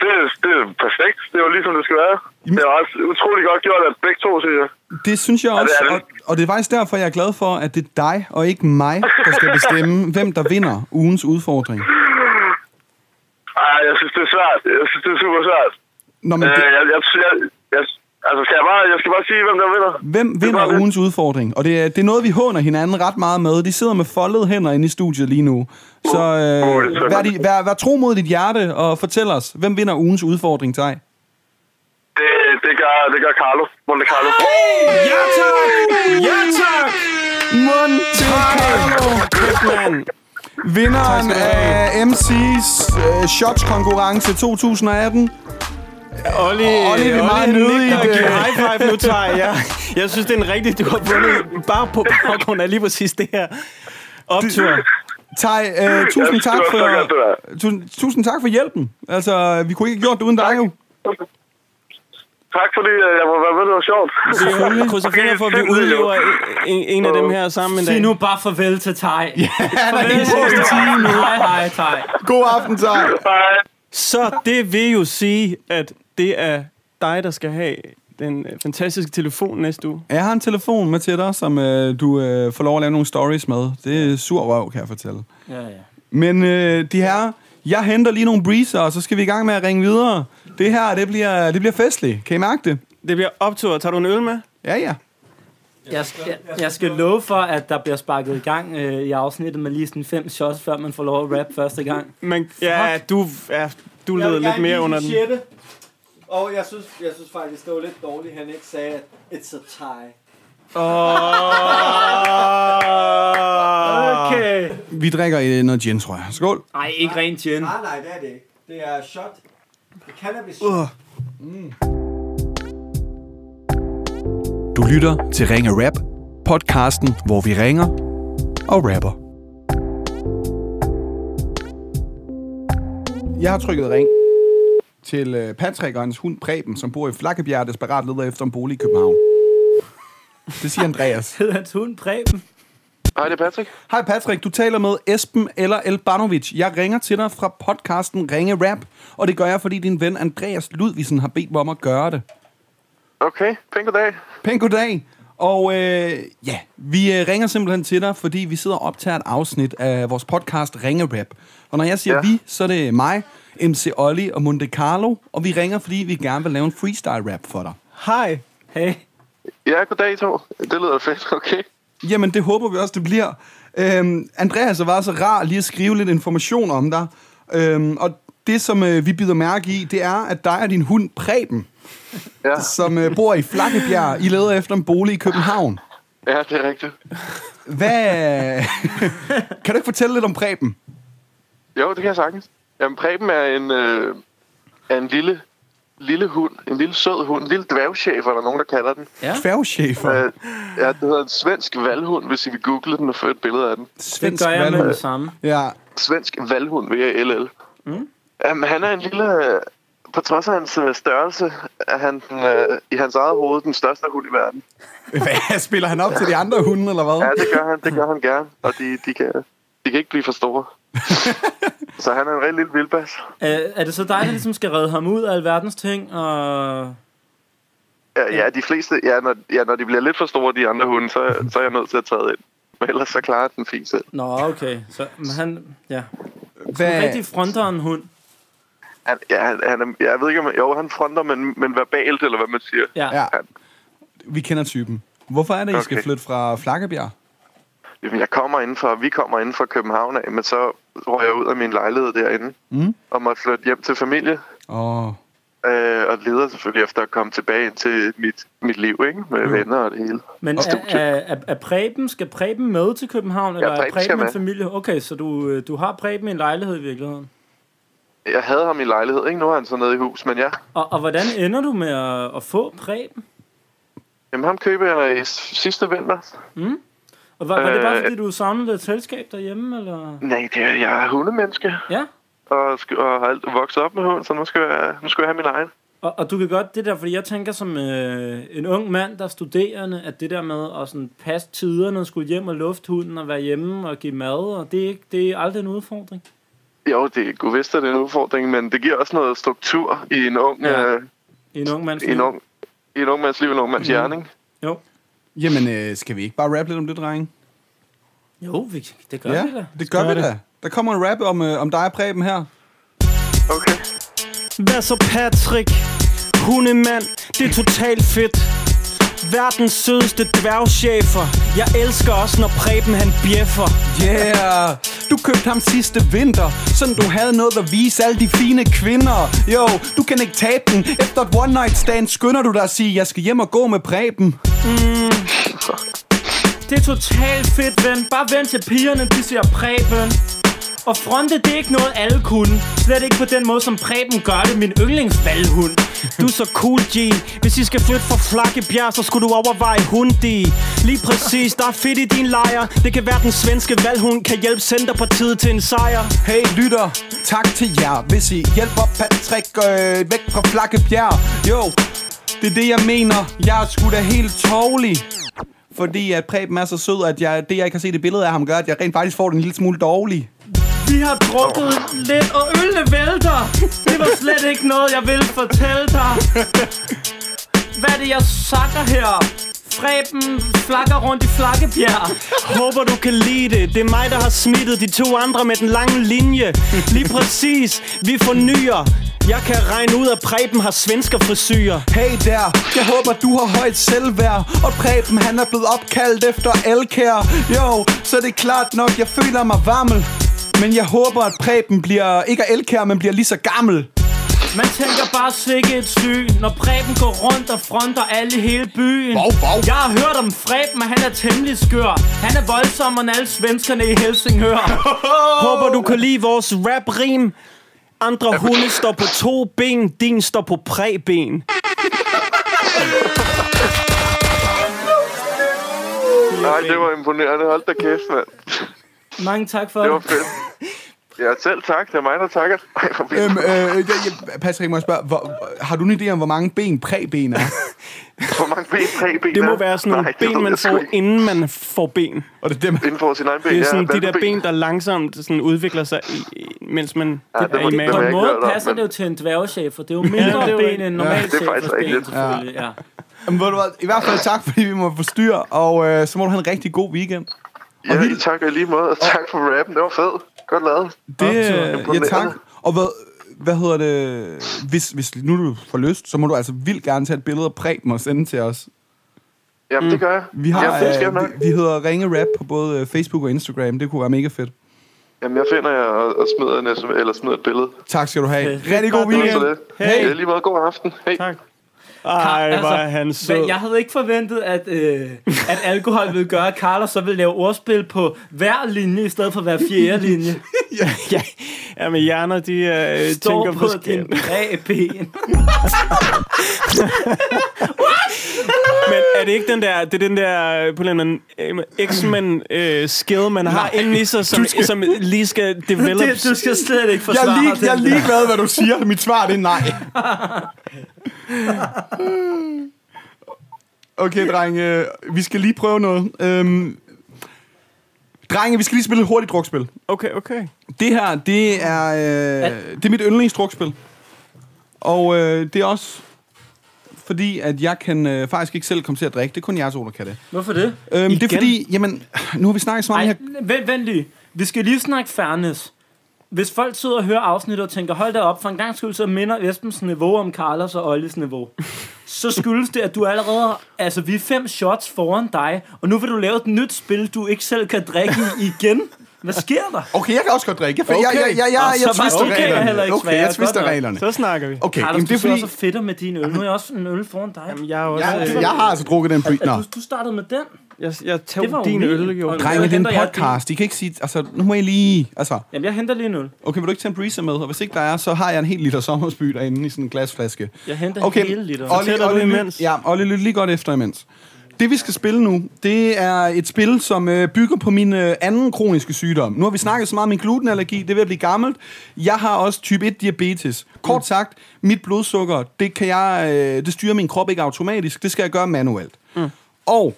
Det, det er perfekt. Det var ligesom det skal være. Det var også utrolig godt gjort af begge to, synes jeg.
Det synes jeg
det
også,
er
og,
det.
og det er faktisk derfor, jeg er glad for, at det er dig og ikke mig, der skal bestemme, hvem der vinder ugens udfordring.
Ej, Ah, jeg synes, det er svært. Jeg synes, det er super svært.
Nå, men
Øh,
det,
jeg, jeg, jeg, jeg, altså, skal jeg, bare, jeg skal bare sige, hvem der vinder.
Hvem
bare
vinder
det.
ugens udfordring? Og det, er- det er noget, vi håner hinanden ret meget med. De sidder med foldede hænder inde i studiet lige nu. Så
Åh,
øh,
det er så
vær,
godt.
di- vær, vær tro mod dit hjerte og fortæl os, hvem vinder ugens udfordring, Tej?
Det, det, gør, det gør Carlo. Monte Carlo.
Ja tak! Ja tak!
Monte Carlo
Kæft, mand.
vinderen
du have.
af MC's øh, Shots konkurrence 2018.
Olli,
Olli, vi er meget
han
nødige i øh,
nikker og
det.
giver øh, high five nu, Thaj. Jeg, jeg synes, det er en rigtig, du har vundet bare på baggrund af lige præcis det her optur.
Tej, øh, tusind, tak
Jeg synes, det var så
for,
godt, det
tusind, tusind tak for hjælpen. Altså, vi kunne ikke have gjort det uden dig jo.
Tak fordi øh, jeg må være med. Det var sjovt.
Vi krydser fingre for, at vi udlever en, en- en af dem her sammen en
Sig
dag.
nu bare farvel til Tej. Ja, farvel
ikke
til
brugt en
Tej. Hej, hej, Tej.
God aften, Tej.
Hej.
Så det vil jo sige, at det er dig, der skal have den øh, fantastiske telefon næste uge.
Jeg har en telefon med til dig, som øh, du øh, får lov at lave nogle stories med. Det er sur røv, kan jeg fortælle.
Ja, ja.
Men øh, de her, jeg henter lige nogle breezer, og så skal vi i gang med at ringe videre. Det her, det bliver, det bliver festligt. Kan I mærke det?
Det bliver optur. Tager du en øl med?
Ja, ja.
Jeg, skal- jeg, jeg skal love for, at der bliver sparket i gang øh, i afsnittet med lige sådan fem shots, før man får lov at rap første gang.
Men, ja, du, ja, du leder lidt mere under den.
Sjette. Og jeg synes, jeg synes faktisk, det var lidt dårligt, han ikke sagde, at it's a tie.
Okay.
Vi drikker øh, noget gin, tror jeg. Skål.
Nej, ikke ren gin.
Nej, nej, det er det ikke. Det er shot. Det er cannabis shot. Uh.
Du lytter til Ringe Rap, podcasten, hvor vi ringer og rapper. Jeg har trykket ring til øh, Patrick og hans hund Preben, som bor i Flakkebjerg, og desperat leder efter en bolig i København. Det siger Andreas.
Hedder hans hund Preben?
Hej, det er Patrick.
Hej Patrick, du taler med Esben eller Elbanovic. Jeg ringer til dig fra podcasten Ringe Rap, og det gør jeg, fordi din ven Andreas Ludvigsen har bedt mig om at gøre det.
Okay, pæn goddag.
Pæn goddag. Og øh, ja, vi øh, ringer simpelthen til dig, fordi vi sidder og optager et afsnit af vores podcast Ringe Rap. Og når jeg siger ja.
Ja.
vi, så er det mig, MC Olli og Monte Carlo, og vi ringer, fordi vi gerne vil lave en freestyle rap for dig.
Hej.
Hey.
Ja, goddag I to. Det lyder fedt, okay.
Jamen, det håber vi også, det bliver. Øhm, Andreas var så rar lige at skrive lidt information om dig. Øhm, og det, som øh, vi bider mærke i, det er, at dig og din hund Preben,
Ja,
som øh, bor i Flakkebjerg, I leder efter en bolig i København.
ja det er rigtigt.
Hvad... kan du ikke fortælle lidt om Preben?
Jo, det kan jeg sagtens. Jamen, Preben er en, øh, er en lille, lille hund, en lille sød hund, en lille dværgchef, er der nogen, der kalder den.
Færgechefer.
Øh, ja, det hedder en svensk valhund, hvis I vil google den og få et billede af den.
Det
Svensk
gør jeg med
valhund.
det samme.
Ja.
Svensk valhund, V-A-L-L. Mm. Jamen, han er en lille... øh, På trods af hans øh, størrelse, er han den, øh, i hans eget hoved den største hund i verden.
Hvad, spiller han op til de andre hunde, eller
Ja,
hvad?
det gør han. Det gør han gerne. Og de, de, kan, de kan ikke blive for store. så han er en rigtig lille vildbas.
Øh, er det så dig, der ligesom skal redde ham ud af alverdens ting? Og...
Ja, ja, de fleste... Ja når, ja, når de bliver lidt for store, de andre hunde, så, så er jeg nødt til at træde ind. Men ellers så klarer den fint selv.
Nå, okay. Så men han... Ja. En
Hvad,
rigtig fronteren hund.
Han, ja, han, han, er- jeg ved ikke, om... Jo, han fronter, men, men verbalt, eller hvad man siger.
Ja.
ja,
ja.
vi kender typen. Hvorfor er det, I skal
Okay.
flytte fra Flakkebjerg?
Jamen, jeg kommer inden for, vi kommer inden for København af, men så røg jeg ud af min lejlighed derinde.
Mm.
Og måtte flytte hjem til familie.
Åh,
Øh, og leder selvfølgelig efter at komme tilbage ind til mit, mit liv, ikke? Med venner og det hele.
Men er, er, er, er Preben, skal Preben med til København, eller er
Preben skal
Preben en
med.
familie? Okay, så du, øh, du har Preben i en lejlighed i virkeligheden.
Jeg havde ham i lejlighed, ikke? Nu er han så nede i hus, men ja.
Og, og hvordan ender du med at, at få Preben?
Jamen, ham købte jeg i s- sidste vinter.
Mm. Og var, var det bare
Øh,
fordi, du savnede lidt selskab derhjemme, eller?
Nej, det er, jeg er hundemenneske,
Ja.
og, sk- og har alt vokset op med hund, så nu skal jeg, nu skal jeg have min egen.
Og, og du kan godt det der, fordi jeg tænker som øh, en ung mand, der er studerende, at det der med at sådan passe tiderne, og skulle hjem og lufte hunden og være hjemme og give mad, og det er, ikke, det er aldrig en udfordring.
Jo, det er god vist, at det er en udfordring, men det giver også noget struktur i en ung,
Ja.
ja. øh,
I en ung mands Mm.
i en ung, i en ung mands liv, en ung mands hjerne, ikke?
Jo.
Jamen, øh, skal vi ikke bare rappe lidt om det, drenge?
Jo, vi, det gør
ja,
vi da.
det gør
Skal
vi da. Der kommer en rap om, øh, om dig og Preben her.
Okay.
Hvad så Patrick? Hundemand, det er totalt fedt Verdens sødeste dværgchefer Jeg elsker også, når Preben han bjeffer
Yeah! Du købte ham sidste vinter, sådan du havde noget at vise alle de fine kvinder. Jo, du kan ikke tabe den. Efter et one night stand skynder du dig at sige, jeg skal hjem og gå med Preben.
Mm. Det er totalt fedt, ven. Bare vent til pigerne, de ser Preben. Og fronte, det er ikke noget, alle kunne. Slet ikke på den måde, som Preben gør det, min yndlingsvalghund.
Du er så cool, G Hvis I skal flytte fra Flakkebjerg, så skulle du overveje hundi Lige præcis, der er fedt i din lejr Det kan være, den svenske valghund kan hjælpe Centerpartiet til en sejr
Hey lytter, tak til jer, hvis I hjælper Patrick øh, væk fra Flakkebjerg. Jo, det er det, jeg mener. Jeg er sgu da helt tovlig. Fordi at Preben er så sød, at jeg, det, jeg kan se i det billede af ham, gør, at jeg rent faktisk får den en lille smule dårlig.
Vi har drukket lidt, og ølene vælter. Det var slet ikke noget, jeg ville fortælle dig. Hvad er det, jeg sakker her? Freben flakker rundt i Flakkebjerg.
Håber du kan lide det Det er mig, der har smittet de to andre med den lange linje Lige præcis, vi fornyer Jeg kan regne ud, at Preben har svensker frisyrer
Hey der, jeg håber du har højt selvværd Og Preben han er blevet opkaldt efter Elkær Jo, så det er klart nok, jeg føler mig varmel Men jeg håber, at Preben bliver, ikke er Elkær, men bliver lige så gammel
Man tænker bare sikke et syg, når Preben går rundt og fronter alle i hele byen.
Wow, wow.
Jeg har hørt om Preben, og han er temmelig skør. Han er voldsommere end alle svenskerne i Helsingør.
Håber du kan lide vores rap-rim Andre hunde står på to ben Din står på præben
Nej, det var imponerende. Hold da kæft, mand.
Mange tak for
Det var
det.
fedt. Ja, selv tak. Det er mig, der takker. Ej, hvor vildt.
Øhm, øh, jeg, jeg, Patrick, må jeg spørge, hvor, har du en idé om, hvor mange ben Preben er?
Hvor mange ben, tre ben
Det
er?
må være sådan nogle
Nej, det ved
ben, man
jeg sgu
får,
ikke.
inden man får ben.
Og det er dem.
Inden for sin egen ben,
Det er
ja.
sådan de der
Valpeben.
ben, der langsomt sådan udvikler sig, i, i- mens man
Ja, det
er
må- det
i
må
På
maven.
jeg
en
ikke
måde
hørt om,
passer det jo
men-
til en dværgchefer. Det er jo mindre
det er jo
ben
ikke-
end
Ja,
normalt
det er faktisk
chefers ben,
rigtigt.
selvfølgelig. Ja.
Jamen, ved du hvad, I hvert fald tak, fordi vi må forstyrre, og øh, så må du have en rigtig god weekend.
Ja,
hil-
tak og i lige måde. Og tak for rappen. Det var fedt. Godt lavet.
Det, øh, ja
Imponerende.
tak. Og hvad, hvad hedder det, hvis, hvis nu du får lyst, så må du altså vildt gerne tage et billede af Preben og sende til os.
Jamen, det gør jeg.
Mm. Vi har,
Jamen, det skal jeg nok.
øh, vi, vi hedder Ringe Rap på både øh, Facebook og Instagram. Det kunne være mega fedt.
Jamen, jeg finder jer og, og smider, en, sm- eller smider et billede.
Tak skal du have.
Okay.
Rigtig god
Det var
weekend.
så det.
Hey.
Det er lige meget god aften. Hej.
Tak. Ej, hvor er
Altså,
han
Men
sød.
jeg havde ikke forventet, at, øh, at alkohol ville gøre, at Carlos så ville lave ordspil på hver linje, i stedet for hver fjerde linje.
Ja, ja, men hjerner, de øh,
Står
tænker
på
forskelligt.
din præben.
Men er det ikke den der, det er den der øh, på en eller anden øh, X-Men øh, skill, man har inden i sig, som, som lige skal developes?
Det, du skal slet ikke
Jeg
forsvare
er,
den
lige, jeg er
der.
ligeglad, hvad du siger. Mit svar det er nej. Okay, drenge. øh, Vi skal lige prøve noget. Øhm, drenge, vi skal lige spille et hurtigt drukspil.
Okay, okay.
Det her, det er, øh, det er mit yndlingsdrukspil. Og øh, det er også fordi, at jeg kan øh, faktisk ikke selv komme til at drikke. Det er kun jer to, der kan det.
Hvorfor det?
Øhm, det er
Igen?
fordi, jamen, nu har vi snakket så meget
Ej,
her.
vent, vent lige. Vi skal lige snakke fairness. Hvis folk sidder og hører afsnittet og tænker, hold da op, for en gang skyld, så minder Esbens niveau om Carlos og Olles niveau. Så skyldes det, at du allerede... Altså, vi er fem shots foran dig, og nu vil du lave et nyt spil, du ikke selv kan drikke i igen. Hvad sker der?
Okay, jeg kan også godt drikke. For okay. jeg,
Okay.
jeg, jeg, jeg, jeg,
Og så
jeg
var
twister
okay, jeg er heller
reglerne.
ikke
Okay,
svær.
jeg twister
Godt nok.
reglerne.
Så snakker vi.
Okay,
Carlos,
jamen,
du
det er
sidder
fordi...
så fedt med din øl. Nu er jeg også en øl foran dig.
Jamen, jeg er også...
Jeg,
øh,
jeg har altså drukket den bry... Nå.
Du, du startede med den.
Jeg, jeg
Det var
tog
jo
din
min.
øl, jo.
Og-
Drenge, det er
henter
en
jeg din.
podcast. I kan ikke sige... Altså, nu må I lige... Altså,
Jamen, jeg henter lige en øl.
okay, vil du ikke tage en breezer med? Og hvis ikke der er, så har jeg en helt liter sommersby derinde i sådan en glasflaske.
Jeg henter
Okay,
hele literen.
Olli,
Fortæller du
Olli, lyt-
imens?
Ja, Olli, lyt lige godt efter imens. Det vi skal spille nu, det er et spil, som øh, bygger på min øh, anden kroniske sygdom. Nu har vi snakket så meget om min glutenallergi, det er ved at blive gammelt. Jeg har også type 1 diabetes. Kort sagt, mit blodsukker, det, kan jeg, øh, det styrer min krop ikke automatisk, det skal jeg gøre manuelt. Mm. Og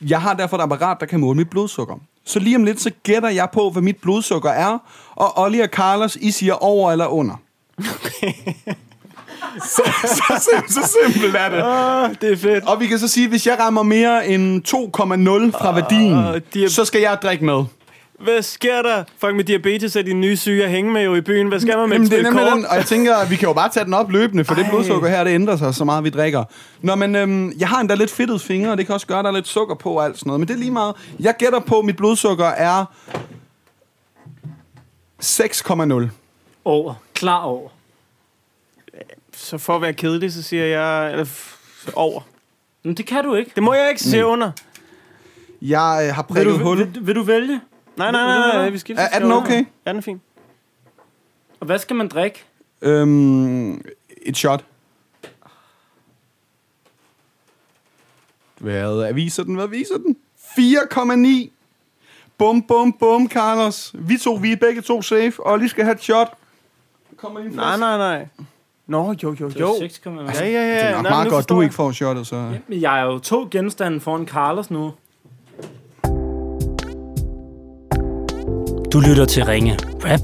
jeg har derfor et apparat, der kan måle mit blodsukker. Så lige om lidt, så gætter jeg på, hvad mit blodsukker er, og Olli og Carlos, I siger over eller under. så, så, sim- så simpelt er det.
Ah, det er fedt.
Og vi kan så sige, at hvis jeg rammer mere end 2,0 fra værdien,
de er-
så skal jeg drikke med.
Hvad sker der? Folk med diabetes er de nye syge at hænge med jo i byen. Hvad skal man med
Jamen,
et
det er
spil
nemlig
kort?
den, og jeg tænker, at vi kan jo bare tage den op løbende, for Ej. det
Ej.
blodsukker her, det ændrer sig så meget, vi drikker. Nå, men øhm, jeg har endda lidt fedtede fingre, og det kan også gøre, at der er lidt sukker på og alt sådan noget. Men det er lige meget. Jeg gætter på, at mit blodsukker er 6,0.
Over. Klar over.
Så for at være kedelig, så siger jeg eller, f- over.
Men det kan du ikke.
Det må jeg ikke se under.
Jeg øh, har
Vil
prikket
du,
hul.
vil, vil du vælge?
Nej, nej, nej, nej, vi skifter.
Er, er den okay?
Er den fin?
Og hvad skal man drikke?
Øhm, et shot. Hvad viser den? Hvad viser den? 4,9. Bum, bum, bum, Carlos. Vi to, vi er begge to safe, og lige skal have et shot. Kommer lige en
Nej,
flaske.
nej, nej. Nå, jo, jo,
Det er
jo.
6, kan man
Ja, ja, ja.
Altså, Det er
Nej,
nok
men
meget
nu
godt,
forstår
du
jeg.
ikke får shottet, så...
Jamen, jeg er jo to genstande foran Carlos nu. Du lytter til Ringe Rap.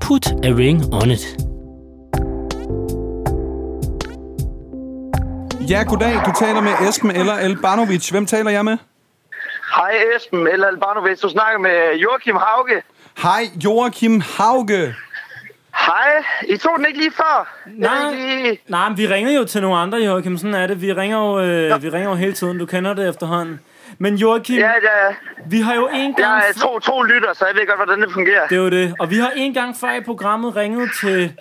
Put a ring on it.
Ja, goddag. Du taler med Esben eller El Barnovic. Hvem taler jeg med?
Hej Esben, eller Albanovic, du snakker med Joachim Hauge.
Hej, Joachim Hauge.
Hej, I tog den ikke lige før?
Nej.
Jeg er ikke lige-
Nej, men vi ringer jo til nogle andre, Joachim. Sådan er det. Vi ringer jo, øh, vi ringer jo hele tiden. Du kender det efterhånden. Men Joachim,
Ja, ja,
vi har jo en gang...
jeg er to, to lytter, så jeg ved godt, hvordan det fungerer.
Det er jo det. Og vi har en gang før i programmet ringet til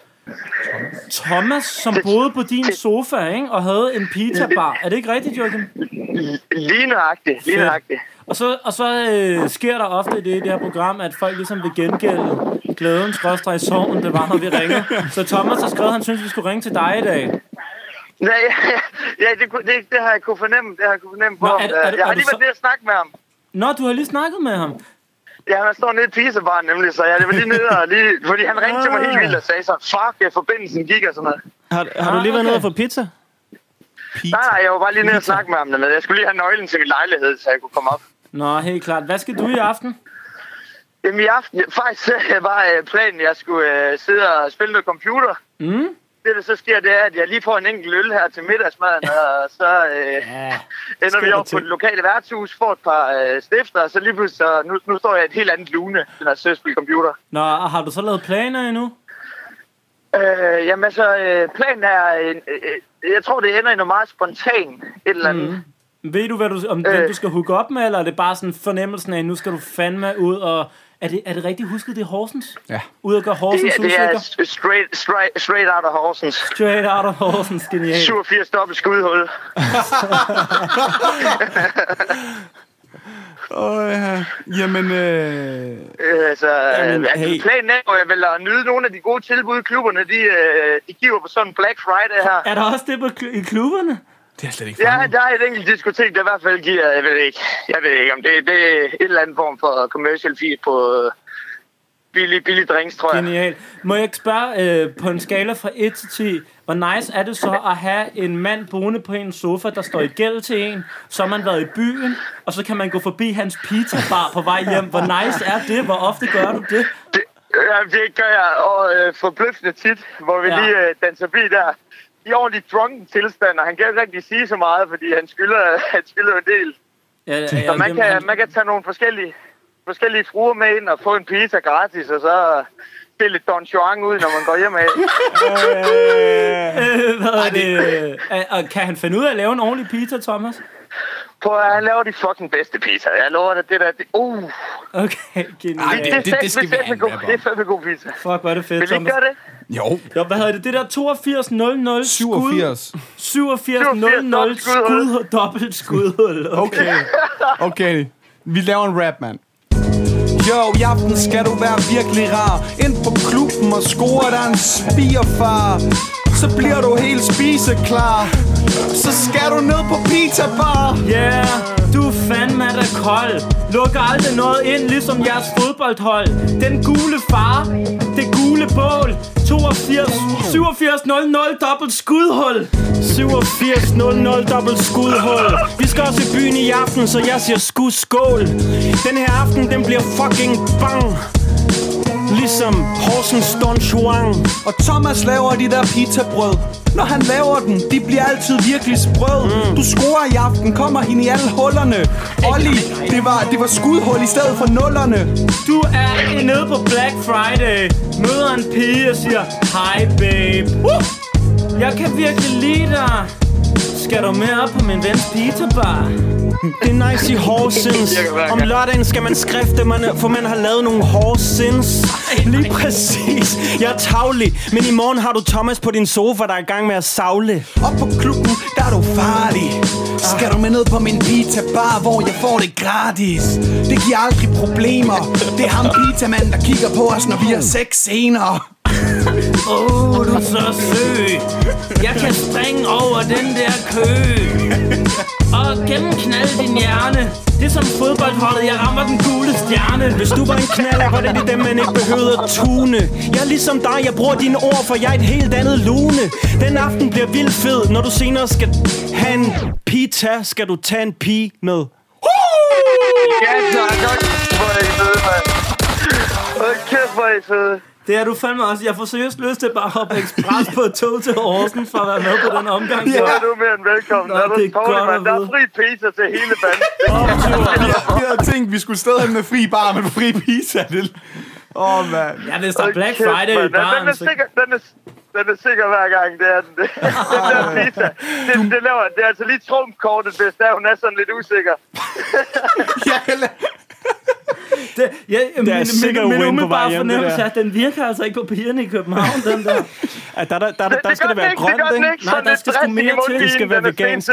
Thomas, som boede på din sofa, ikke? Og havde en pizza-bar. Er det ikke rigtigt, Joachim?
Lige nøjagtigt, lige
Fedt.
nøjagtigt.
Og så, og så øh, sker der ofte det i det her program, at folk ligesom vil gengælde glæden, skråstrej, sorgen, det var, når vi ringede. Så Thomas har skrevet, at han synes, vi skulle ringe til dig i dag.
Nej, ja, det, kunne- det, det har jeg kunne fornemme, det har jeg kunne fornemme på
Nå,
ham.
er- er-
jeg
er
har
du
lige
så-
været nede og snakke med ham.
Nå, du har lige snakket med ham.
Ja, han står nede i Pisabaren nemlig, så jeg var lige nede og lige... Fordi han ringte til mig helt vildt og sagde så, fuck, ja, forbindelsen gik og sådan noget.
Har, har du lige
Ah,
været nede og få
okay.
pizza?
Nej, nej, jeg var bare lige nede og snakke med ham dernede. Jeg skulle lige have nøglen til min lejlighed, så jeg kunne komme op.
Nå, helt klart. Hvad skal du i aften?
Jamen i aften, faktisk øh, var øh, planen, jeg skulle øh, sidde og spille noget computer.
Mm?
Det, der så sker, det er, at jeg lige får en enkelt øl her til middagsmaden, og så øh,
Ja,
ender vi
der
op på
til.
det lokale værtshus, får et par øh, stifter, og så lige pludselig, så nu, nu står jeg i et helt andet lune, den her søspil computer.
Nå, og har du så lavet planer endnu?
Øh, jamen altså, øh, planen er, øh, øh, jeg tror, det ender i noget meget spontant et eller andet. Mm.
Ved du, hvad du, om hvem
Øh.
du skal hooke op med, eller er det bare sådan fornemmelsen af, nu skal du fandme ud og... Er det, er det rigtigt husket, det er Horsens?
Ja.
Ud og gøre
Det,
Horsens
er- det er
usikker?
s- straight, straight, straight out of Horsens.
Straight out of Horsens, genialt.
87 dobbelt skudhul.
Åh, ja. Jamen, øh...
Øh, så,
Jamen,
Jamen,
hey.
hey. Planen er jo jeg vil at nyde nogle af de gode tilbud, klubberne de, øh, de giver på sådan en Black Friday her.
Er der også det på, kl- i klubberne?
Det er slet ikke
Ja, der er et enkelt diskotek, der i hvert fald giver, jeg ved ikke, jeg ved ikke om det, det er en eller anden form for commercial fee på øh, billig, billig drinks, tror jeg.
Genial. Må jeg ikke spørge øh, på en skala fra 1 til 10, hvor nice er det så at have en mand boende på en sofa, der står i gæld til en, så har man været i byen, og så kan man gå forbi hans pizza-bar på vej hjem. Hvor nice er det? Hvor ofte gør du det?
Det, øh, det gør jeg, og øh, forbløffende tit, hvor vi
Ja.
ja. lige øh, danser bi der. I ordentlig drunken tilstand, og han kan ikke rigtig sige så meget, fordi han skylder, han skylder en del.
Ja, ja,
Så man kan, man kan tage nogle forskellige, forskellige fruer med ind og få en pizza gratis, og så stille lidt Don Juan ud, når man går hjem af.
Øh, hvad er det? Øh, og kan han finde ud af at lave en ordentlig pizza, Thomas?
På, han laver de fucking bedste pizza. Jeg lover dig, det der... Det, uh, det,
Okay,
Ej,
genialt.
det-
det, det,
skal
skal
vi
det, er
have en
fandme god,
rap om.
det er fandme god pizza.
Fuck, hvor er det fedt,
Vil I ikke
Thomas.
gøre det?
Jo.
Jo, hvad hedder det? Det der 8200 skud.
87.
8700
87 dobbelt
skud. Dobbelt skudhul. Okay.
Okay. Okay. Vi laver en rap, mand. Jo, i aften skal du være virkelig rar Ind på klubben og score dig en spirfar så bliver du helt spiseklar. Så skal du ned på pizza bar.
Yeah, du er fandme da kold Lukker aldrig noget ind, ligesom jeres fodboldhold Den gule far, det gule bål 82, 87, 00, dobbelt skudhul
8700 dobbelt skudhul Vi skal også i byen i aften, så jeg siger skud skål Den her aften, den bliver fucking bang Ligesom Horsens Don Juan
Og Thomas laver de der pizzabrød. Når han laver dem, de bliver altid virkelig sprød. Mm. Du scorer i aften, kommer hende i alle hullerne. Olli, det var, det var skudhul i stedet for nullerne.
Du er nede på Black Friday Møder en pige og siger Hej babe uh! Jeg kan virkelig lide dig Skal du med op på min vens pizza bar?
Det er nice i Horsens Om lørdagen skal man skrifte, man, for man har lavet nogle Horsens Lige præcis Jeg er tavlig, men i morgen har du Thomas på din sofa, der er i gang med at savle
Op på klubben, der er du farlig. Skal du med ned på min pizza bar, hvor jeg får det gratis. Det giver aldrig problemer. Det er ham pizzamanden, der kigger på os, når vi har sex senere.
Åh, oh, du er så sød Jeg kan springe over den der kø Og gennemknalde din hjerne Det er som fodboldholdet, jeg rammer den gule stjerne
Hvis du var en knaller, var det det dem, man ikke behøvede at tune Jeg er ligesom dig, jeg bruger dine ord, for jeg er et helt andet lune Den aften bliver vildt fed, når du senere skal have en pita Skal du tage en pige med
Ja, tak. Hvor er I søde, mand. Hold kæft, hvor er I søde.
Det er du fandme også Jeg får seriøst lyst til bare at hoppe ekspres på et tog til Horsens For at være med på den omgang
Ja, du er mere end velkommen.
Nå,
Nå, er du
det er
tårlig,
godt
mand.
at
Der er
vide.
fri pizza til hele banden.
Vi havde tænkt, vi skulle stadig med fri bar, men fri pizza. det- Åh, oh, mand.
Ja, hvis der er
Hold
Black
kæft,
Friday i
mand. Den- Den
baren
er
så...
sikker, den er, den er sikker hver gang, det er den. den der
Ah.
pizza. Det, det, laver, det er altså lige trumkortet, hvis der hun er sådan lidt usikker.
Ja, eller-
det, ja, min,
er sikkert win
min, min
på vej
umiddelbare
hjem, det
fornemmelse
der.
er, at den virker altså ikke på pigerne i København, den der.
Ja, der, der, der, der, der
det
skal det være grønt, ikke?
Nej, der skal sgu mere til.
Det skal være vegansk.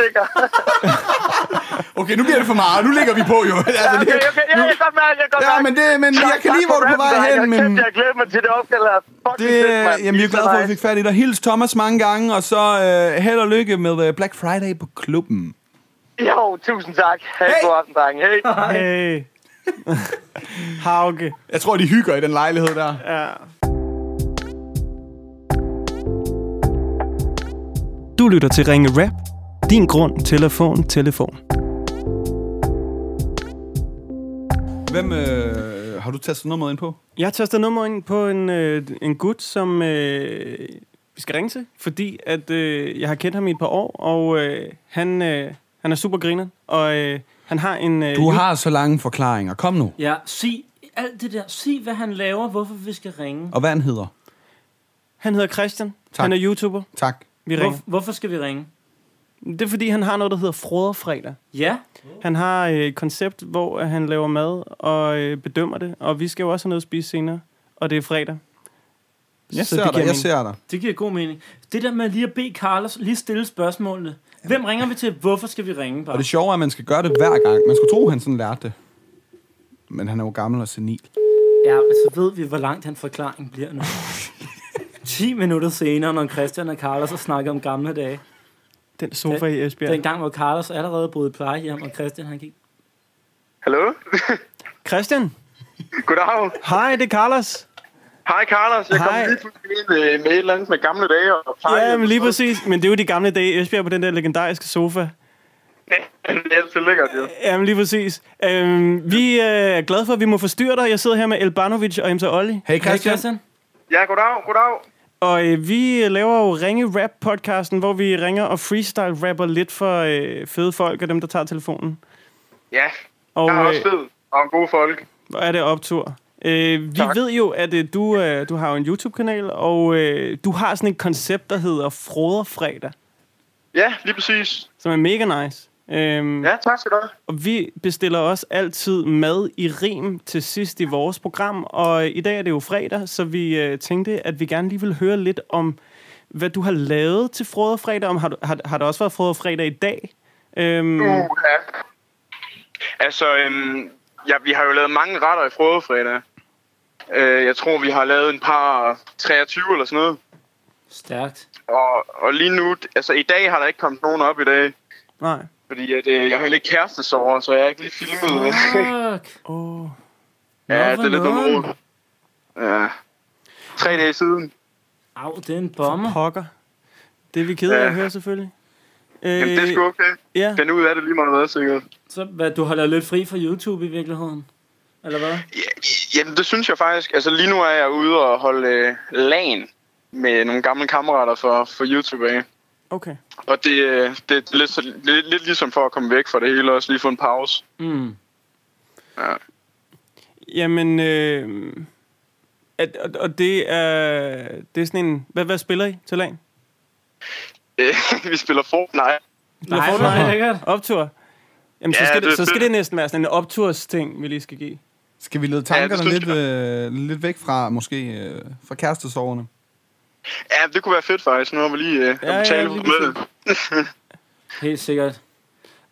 Okay, nu bliver det for meget. Nu ligger vi på, jo. Altså,
Okay,
det-
okay, ja, jeg kan mærke, jeg kan
Ja, men, det, men jeg kan lige, hvor du er på vej hen, men...
Jeg glæder mig til det opkald her. Fuck,
Det, jamen, vi er glade for, at vi fik fat i dig. Hils Thomas mange gange, og så øh, held og lykke med øh, Black Friday på klubben.
Jo, tusind tak. Hey,
Hey.
hey. god aften, drenge. Hey.
Hey. Hauke.
Jeg tror, de hygger i den lejlighed der.
Ja. Du lytter til Ringe Rap. Din grund, telefon, telefon.
Hvem øh, har du tastet nummeret ind på?
Jeg taster nummeret ind på en, øh, en gut, som øh, vi skal ringe til, fordi at, øh, jeg har kendt ham i et par år, og øh, han, øh, han er super griner, og øh, han har en... Øh,
Du har så lange forklaringer. Kom nu.
Ja, sig alt det der. Sig, hvad han laver, hvorfor vi skal ringe.
Og hvad han hedder?
Han hedder Christian.
Tak.
Tak. Han er YouTuber.
Tak.
Vi ringer.
Hvor, hvorfor skal vi ringe?
Det er, fordi han har noget, der hedder Froderfredag.
Ja,
Han har øh, et koncept, hvor øh, han laver mad og øh, bedømmer det, og vi skal jo også have noget at spise senere, og det er fredag.
Jeg
Så
ser
det giver
dig, jeg
mening.
ser dig.
det giver god mening. Det der med lige at bede Carlos lige stille spørgsmålene. Hvem ringer vi til? Hvorfor skal vi ringe
Og
bare?
det sjove er, at man skal gøre det hver gang. Man skulle tro, han sådan lærte det. Men han er jo gammel og senil.
Ja, men så ved vi, hvor langt han forklaring bliver nu. 10 minutter senere, når Christian og Carlos har snakket om gamle dage.
Den sofa i Esbjerg.
Ja. Den gang, hvor Carlos allerede boede i plejehjem, og Christian han gik...
Hallo?
Christian,
Goddag.
hej, det er Carlos.
Hej, Carlos. Jeg kom
Hej.
lige pludselig ind øh, med et eller andet med gamle dage og pleje.
Ja, men lige præcis. Men det er jo de gamle dage i Esbjerg på den der legendariske sofa.
Det er altså. så lækkert, jo.
Jamen lige præcis. Øhm, vi øh, er glade for, at vi må forstyrre dig. Jeg sidder her med Elbanovic og MC Olli.
Hey
Hey
Christian.
Christian?
Ja, goddag, goddag.
Og øh, vi laver jo Ringe Rap podcasten, hvor vi ringer og freestyle rapper lidt for øh, fede folk og dem, der tager telefonen.
Ja,
Og
jeg er
øh,
også fed og en god folk.
hvor er det optur. Øh, vi
Tak.
ved jo, at øh, du, øh, du har jo en YouTube-kanal, og øh, du har sådan et koncept, der hedder Froder Fredag,
Ja, lige præcis.
som er mega nice. Øhm,
Ja, tak skal du have.
Og vi bestiller også altid mad i rim til sidst i vores program, og øh, i dag er det jo fredag, så vi øh, tænkte, at vi gerne lige vil høre lidt om, hvad du har lavet til Frode Fredag. Om, har, du, har, har der også været Frode Fredag i dag? Øhm, uh.
Uha. Altså, øhm, ja, vi har jo lavet mange retter i frødefredag. Øh, jeg tror, vi har lavet en par 23 eller sådan noget.
Stærkt.
og, og lige nu, altså i dag har der ikke kommet nogen op i dag.
Nej.
Fordi at, øh, jeg har lidt kærestesover, så jeg har ikke lige filmet. øh,
Fuck.
Åh.
ja,
Nå,
det er lidt
hvor
noget
nøjeren.
rod. Ja. Tre dage siden.
Au, det er en bomber.
Pokker. Det er vi kede af at
Ja.
høre, selvfølgelig.
Jamen, det er sgu okay.
Øh, Ja,
Find ud af det lige meget hvad, sikkert.
Så hvad, du holder lidt fri fra YouTube i virkeligheden? Eller hvad?
Ja, jamen, det synes jeg faktisk. Altså, lige nu er jeg ude og holde øh, lagen med nogle gamle kammerater for, for YouTube af.
okay.
Og det, øh, det, det er lidt, så- lidt, lidt ligesom for at komme væk fra det hele, også lige få en pause.
Mm.
Jamen, øh, at, og, og det er, det er sådan en... Hvad, hvad spiller I til lagen?
Øh, vi spiller Fortnite.
Nej,
får
hvor
du
er det
noget?
lækkert.
Optur? Jamen, så,
Ja,
skal det,
det er
så skal
fedt.
det næsten være sådan en optursting, vi lige skal give.
Skal vi lede
det
tankerne
synes
lidt, øh, lidt væk fra, måske, øh, fra kærestesoverne?
Ja, det kunne være fedt faktisk. Nu har vi lige øh,
Ja,
ja,
ja,
talt
lige
med det.
Helt sikkert.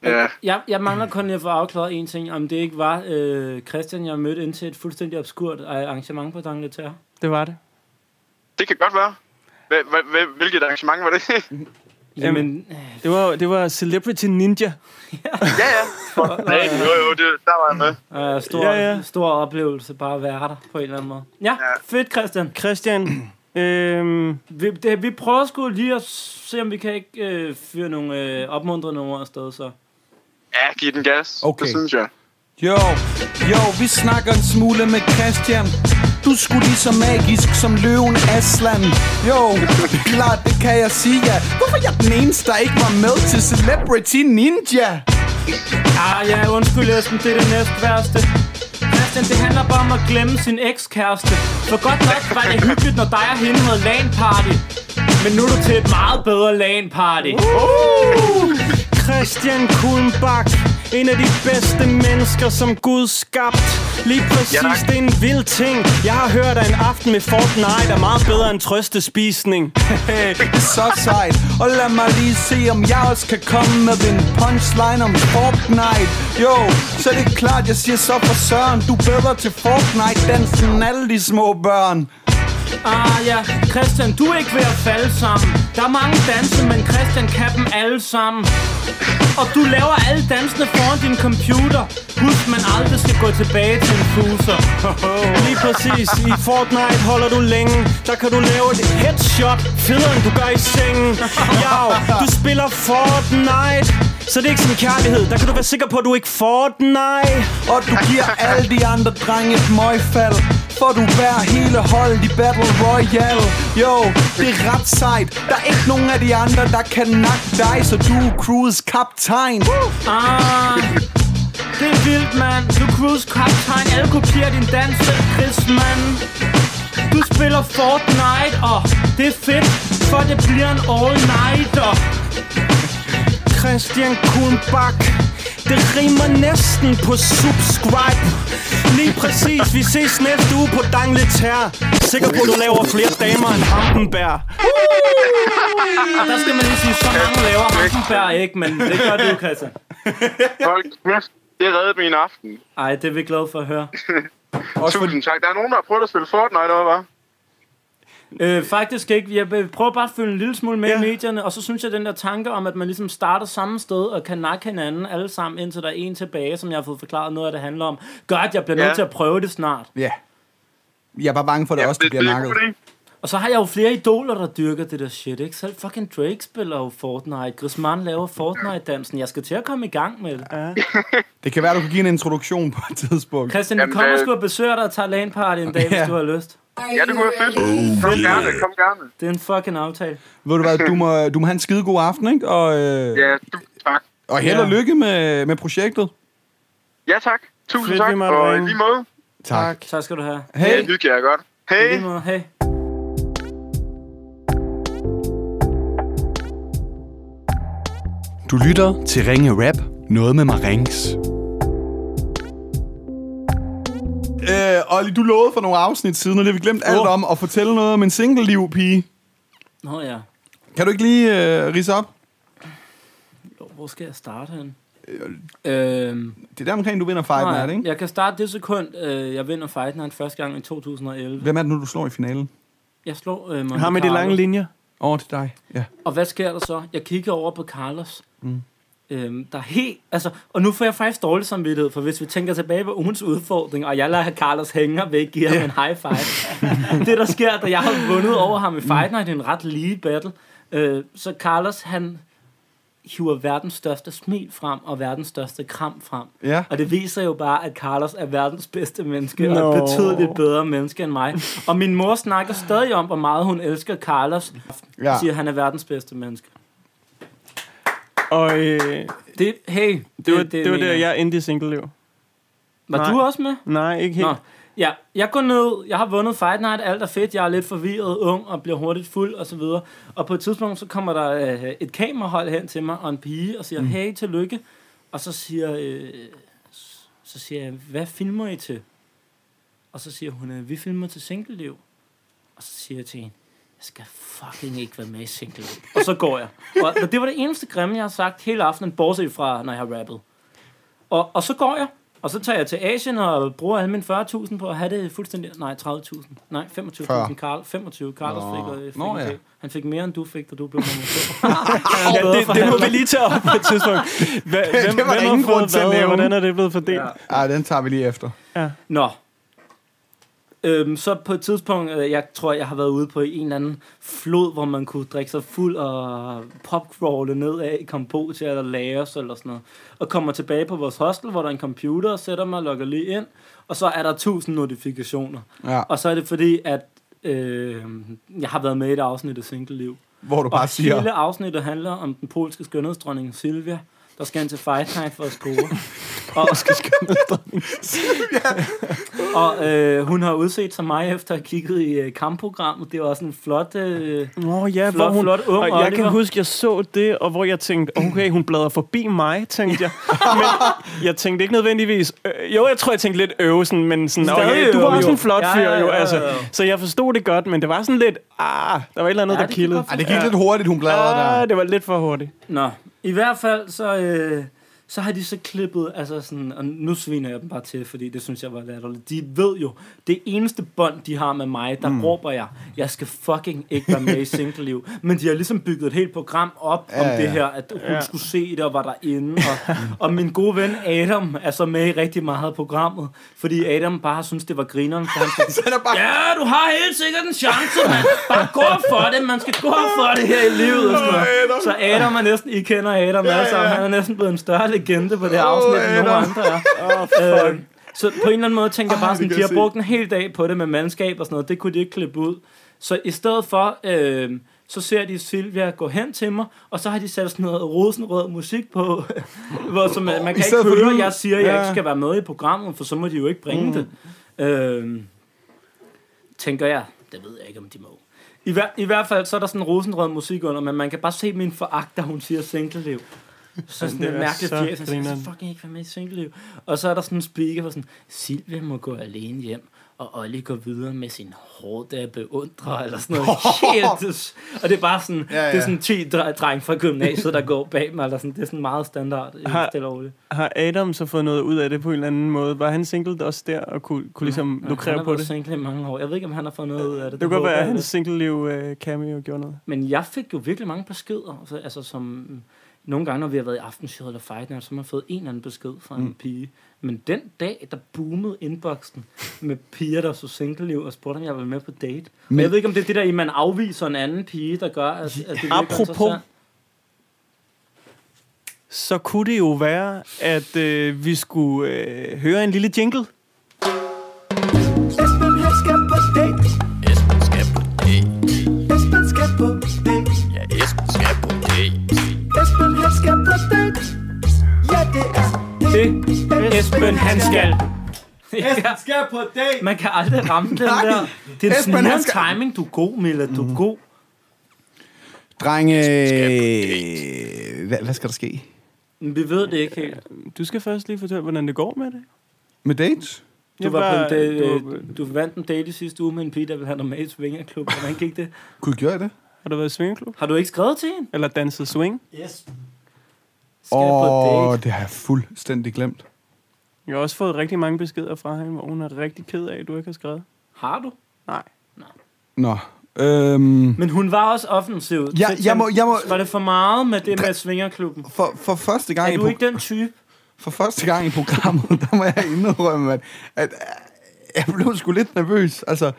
Ja.
Jeg, jeg mangler kun lige at få afklaret en ting, om det ikke var øh, Christian, jeg mødte ind til et fuldstændig obskurt øh, arrangement på Dangleterre.
Det var det.
Det kan godt være. Hva- hva- hva- Hvilket arrangement var det?
Jamen, øh,
Det var, det var Celebrity Ninja.
ja, ja. Nej, jo, jo, det, der var jeg med.
øh, stor,
Ja,
ja,
ja.
ja. stor oplevelse bare at være der på en eller anden måde. Ja,
Ja.
ja. fedt Christian.
Christian, øh,
Vi, det, vi prøver sgu lige at se, om vi kan ikke øh, fyre nogle øh, opmuntrende ord afsted, så.
Ja, giv den gas.
Okay.
Det synes jeg.
Jo,
Jo, vi snakker en smule med Christian Du skulle lige så magisk som løven Aslan Jo, klart det kan jeg sige ja Hvorfor er jeg den eneste, der ikke var med til Celebrity Ninja?
Ah, ja, undskyld Esben, det er det næst værste. Christian, det handler bare om at glemme sin ekskæreste. For godt nok var det hyggeligt, når dig og hende havde LAN-party. Men nu er du til et meget bedre LAN-party.
Uh! Christian Kuhnbach En af de bedste mennesker, som Gud skabt Lige præcis,
Ja, tak.
det er en vild ting Jeg har hørt, at en aften med Fortnite er meget bedre end trøstespisning
Det er så sejt Og lad mig lige se, om jeg også kan komme med en punchline om Fortnite Jo, så er det er klart, jeg siger så for Søren Du er bedre til Fortnite-dansen end alle de små børn
Ah ja, Christian, du er ikke ved at falde sammen. Der er mange danse, men Christian kan dem alle sammen. Og du laver alle dansene foran din computer. Husk, man aldrig skal gå tilbage til en fuser.
Lige præcis, i Fortnite holder du længe Der kan du lave et headshot Federe end du gør i sengen Jau, du spiller Fortnite Så det er ikke sådan kærlighed Der kan du være sikker på, at du ikke Fortnite
Og du giver alle de andre drenge et møgfald For du bærer hele holdet i Battle Royale Jo, det er ret sejt Der er ikke nogen af de andre, der kan nakke dig Så du er crewets kaptajn
Ah, det er vildt, mand. Du cruise kaptajn, alle kopierer din dans selv, Chris, mand. Du spiller Fortnite, og det er fedt, for det bliver en all-nighter.
Christian Kuhnbach Det rimer næsten på subscribe Lige præcis, vi ses næste uge på Dangletær Sikker på, du laver flere damer end Hampenberg
Og der skal man lige sige, så mange laver Hansenberg ikke, men det gør du, Christian.
Hold kæft. Det reddede min aften.
Ej, det er vi glade for at høre.
Tusind tak. Der er nogen, der har prøvet at spille Fortnite over, hva'?
Øh, faktisk ikke. Jeg vil- prøver bare at følge en lille smule med
Ja.
ja. i medierne, og så synes jeg, den der tanke om, at man ligesom starter samme sted og kan nakke hinanden alle sammen, indtil der er en tilbage, som jeg har fået forklaret noget af, det handler om, gør, at jeg bliver
Ja.
nødt til at prøve det snart.
ja. Jeg er bare bange for, at det også
det,
bliver
det er en
nakket.
god idé.
Og så har jeg jo flere idoler, der dyrker det der shit, ikke? Selv fucking Drake spiller jo Fortnite. Griezmann laver Fortnite-dansen. Jeg skal til at komme i gang med det.
Det kan være, du kan give en introduktion på et tidspunkt.
Christian, vi
Jamen,
kommer
øh,
sgu og besøger dig og tager LAN-party en dag,
Ja.
hvis du har lyst.
Ja, det kunne være fedt.
Oh,
Kom gerne, kom gerne.
Det er en fucking aftale.
Ved du hvad, du må, du må have en skide god aften, ikke? Og, øh,
Ja, du, tak.
og held og lykke med, med projektet.
Ja, tak. Tusind
Fedt, vi
tak.
måtte
Og i
ringe.
lige måde.
Tak.
Tak skal du have.
Ja,
Hey.
det kan jeg godt.
I
Hej.
lige måde. Hej.
Du lytter til Ringe Rap. Noget med Marings.
Øh, Olli, du lovede for nogle afsnit siden, og det har vi glemt alt
Oh.
om, at fortælle noget om en single-liv, pige.
Nå ja.
Kan du ikke lige øh, rise op?
Jo, hvor skal jeg starte hen? Øhm,
Det er der omkring, du vinder Øh, Fight
nej,
Night, ikke?
Jeg kan starte det sekund, øh, jeg vinder Fight Night første gang i 2011.
Hvem er det nu, du slår i finalen?
Jeg slår øh, Monte
Ham med de
Carlo.
lange linjer
Åh,
Åh, oh, det er dig. Ja.
Og hvad sker der så? Jeg kigger over på Carlos. Mm. Øhm, der er helt, altså, og nu får jeg faktisk dårlig samvittighed, for hvis vi tænker tilbage på ugens udfordring, og jeg lader Carlos hænge og væk, giver ham en high five. det, der sker, da jeg har vundet over
Mm.
ham i Fight Night, det er en ret lige battle. Øh, så Carlos, han hiver verdens største smil frem og verdens største kram frem.
Ja.
Og det viser jo bare, at Carlos er verdens bedste menneske, no. og
Nå.
et betydeligt bedre menneske end mig. Og min mor snakker stadig om, hvor meget hun elsker Carlos.
Ja.
Ja. Siger, at han er verdens bedste menneske.
Og øh,
Det, hey, det,
det, var, det, det var
mener
der, jeg endte i single-liv.
Var
Nej.
du også med?
Nej, ikke helt.
Nå. Ja, jeg går ned, jeg har vundet Fight Night, alt er fedt, jeg er lidt forvirret, ung og bliver hurtigt fuld og så videre. Og på et tidspunkt, så kommer der øh, et kamerahold hen til mig og en pige og siger, mm. hey, tillykke. Og så siger, øh, s- så siger jeg, hvad filmer I til? Og så siger hun, øh, vi filmer til singleliv. Og så siger jeg til hende, jeg skal fucking ikke være med i singleliv. Og så går jeg. Og, og det var det eneste grimme, jeg har sagt hele aftenen, bortset fra, når jeg har rappet. Og, og så går jeg, og så tager jeg til Asien og bruger alle mine 40.000 på at have det fuldstændig... Nej, 30.000. Nej, 25.000. Karl, 25. Carlos
Nå.
fik, øh, fik
Nå,
en
ja.
del. Han fik mere, end du fik, da du blev nummer to.
Ja, det, det må vi lige tage op på et tidspunkt. Hva, hvem,
det var der
hvem har
ingen
fået
grund til at
hvad, og
nævne.
Hvordan er det blevet fordelt?
Ja.
Ej, den tager vi lige efter.
Nå. Øhm, så på et tidspunkt, øh, jeg tror, jeg har været ude på en eller anden flod, hvor man kunne drikke sig fuld og popcrawle nedad i Kambodja eller Laos eller sådan noget. Og kommer tilbage på vores hostel, hvor der er en computer, og sætter mig og logger lige ind. Og så er der tusind notifikationer.
Ja.
Og så er det fordi, at øh, jeg har været med i et afsnit af Single Liv.
Hvor du bare
Og
siger...
hele afsnittet handler om den polske skønhedsdronning Silvia, der skal ind til Fight Night for at score. og, og øh, hun har udset sig mig efter at have kigget i øh, kampprogrammet. Det var også en flot... Øh,
Nå ja,
Flot-
hvor hun,
flot ung
og jeg
Oliver.
kan huske, jeg så det, og hvor jeg tænkte, okay, hun bladrer forbi mig, tænkte jeg. Men jeg tænkte ikke nødvendigvis, øh, jo, jeg tror, jeg tænkte lidt øve, sådan, men sådan,
Stadig
okay, du
øve,
var også
jo.
en flot
Ja,
fyr,
ja,
jo,
ja,
altså.
ja, ja.
Så jeg forstod det godt, men det var sådan lidt, ah, der var et eller andet,
Ja,
der
det kan
kildede.
godt
Ej, det gik lidt hurtigt, hun bladrede der.
Ah, det var lidt for hurtigt.
Nå, i hvert fald så, øh, så har de så klippet, altså sådan, og nu sviner jeg dem bare til, fordi det synes jeg var latterligt. De ved jo, det eneste bånd, de har med mig, der mm. råber jeg, jeg skal fucking ikke være med i singleliv. Men de har ligesom bygget et helt program op ja, om
Ja,
det
ja.
her, at hun
Ja.
ja. skulle se det og var derinde. Og, og min gode ven Adam er så med i rigtig meget af programmet, fordi Adam bare synes, det var grineren. For han tænkte,
Den er bare...
Ja, du har helt sikkert en chance, mand. Bare gå for det. Man skal gå for det her i livet. Og sådan noget. Så Adam er næsten... I kender Adam alle sammen. Han er næsten blevet en større legende på det her afsnit, end nogen andre er. Øh, så på en eller anden måde tænker jeg bare sådan,
kan
de har
jeg se.
brugt en hel dag på det med mandskab og sådan noget. Det kunne de ikke klippe ud. Så i stedet for, øh, så ser de Silvia gå hen til mig, og så har de sat sådan noget rosenrød musik på, hvor som, øh, man man kan
stedet
ikke
for
høre,
lyd.
jeg siger, at jeg
Ja.
ikke skal være med i programmet, for så må de jo ikke bringe mm. det. Øh, tænker jeg. Det ved jeg ikke, om de må. I, hver, I hvert fald, så er der sådan rosenrød musik under, men man kan bare se min foragt, da hun siger singleliv. Så sådan
det
det
er
mærkeligt
så
fjes, jeg skal
grineren.
så fucking ikke være med i singleliv. Og så er der sådan en speaker, hvor sådan, Silvia må gå alene hjem, og Olli går videre med sin hårde der beundrer, eller sådan noget. Helt, og det er bare sådan, ja,
ja.
ja. det er sådan 10 dre- dreng fra gymnasiet, der går bag mig, eller sådan, det er sådan meget standard,
Har-
stille og roligt.
Har Adam så fået noget ud af det på en eller anden måde? Var han single også der, og kunne, kunne ligesom ja,
han
lukrere
har
på
været
det?
single i mange år. Jeg ved ikke, om han har fået noget ud af det.
Det kunne godt
håber
være, at
jeg
hans
lidt.
single-liv øh, cameo gjorde noget.
Men jeg fik jo virkelig mange beskeder, altså, altså som mm, nogle gange, når vi har været i aftenshowet eller fight night, så har man fået en eller anden besked fra en pige. Men den dag, der boomede inboxen med piger, der så single og spurgte, om jeg ville med på date. Men jeg ved ikke, om det er det der, i at man afviser en anden pige, der gør, at, at det virker
Apropos,
interessant.
så kunne det jo være, at øh, vi skulle øh, høre en lille jingle.
Esben han skal på date. Esben skal på date. Esben skal på date. Ja, Esben skal på date. Esben han skal på date. Ja, det er
Det, Esben, han skal. Ja,
Esben skal på date.
man kan aldrig ramme den der. Det er en
Esben, han
snigeren
skal- Mhm.
timing. Du er god, Milla. Du er god.
Drenge... Hvad, hvad skal der ske?
Men vi ved det ikke helt.
Øh, Du skal først lige fortælle, hvordan det går med det.
Med dates?
Du,
Jeg
var
var-
på en date,
du var-
øh, du vandt en date i sidste uge med en pige, der ville have dig med i svingerklub. Hvordan gik det?
Kunne I gøre det?
Har du været i swingklub?
Har du ikke skrevet til hende?
Eller danset swing?
Esben.
Skal oh. på date?
det har jeg fuldstændig glemt.
Jeg har også fået rigtig mange beskeder fra hende, hvor hun er rigtig ked af, at du ikke har skrevet.
Har du?
Nej.
Nå, Øhm,
Men hun var også offensiv.
Ja,
Til-
jeg må- jeg må-
Var det for meget med det med svingerklubben?
for, for første gang
Er
i
du
pro-
ikke den type?
for første gang i programmet, der må jeg indrømme, at, at øh, jeg blev sgu lidt nervøs. Altså,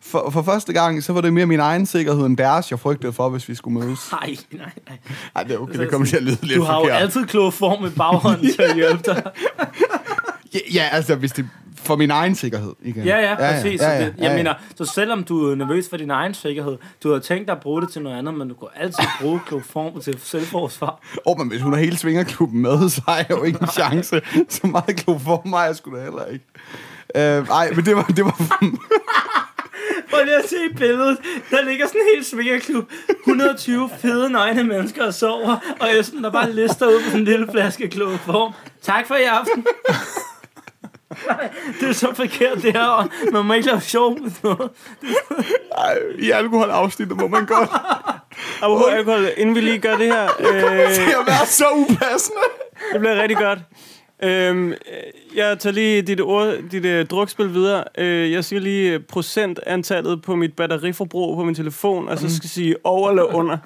for, for første gang, så var det mere min egen sikkerhed end deres, jeg frygtede for, hvis vi skulle mødes.
Nej, nej, nej.
Ej, det er okay, det kommer til at lyde lidt
Du har jo
forkert.
altid kloroform i baghånden til at hjælpe dig.
Ja, ja, altså, hvis det for min egen sikkerhed. Igen.
Ja, ja, præcis. Ja, ja, ja, Jeg mener, så selvom du er nervøs for din egen sikkerhed, du har tænkt dig at bruge det til noget andet, men du kan altid bruge kloroform til selvforsvar.
Åh, men hvis hun har hele svingerklubben med, så har jeg jo ikke en chance. Så meget klub for mig, jeg skulle da heller ikke. Øh, ej, men det var, det var
Prøv lige at se billedet. Der ligger sådan en helt svingerklub. 120 fede nøgne mennesker og sover, og Esben der bare lister ud på en lille flaske kloroform. Tak for i aften. Nej, det er så forkert det her, og man må ikke lave sjov med noget.
ej, i alkoholafsnittet, må man godt
Apropos alkohol, inden vi lige gør det her. Øh,
til at være så upassende.
Det bliver rigtig godt. Øhm, øh, jeg tager lige dit, ord, dit øh, drukspil videre. Øh, jeg siger lige øh, procentantallet på mit batteriforbrug på min telefon, og
Mm.
så skal jeg sige over eller under.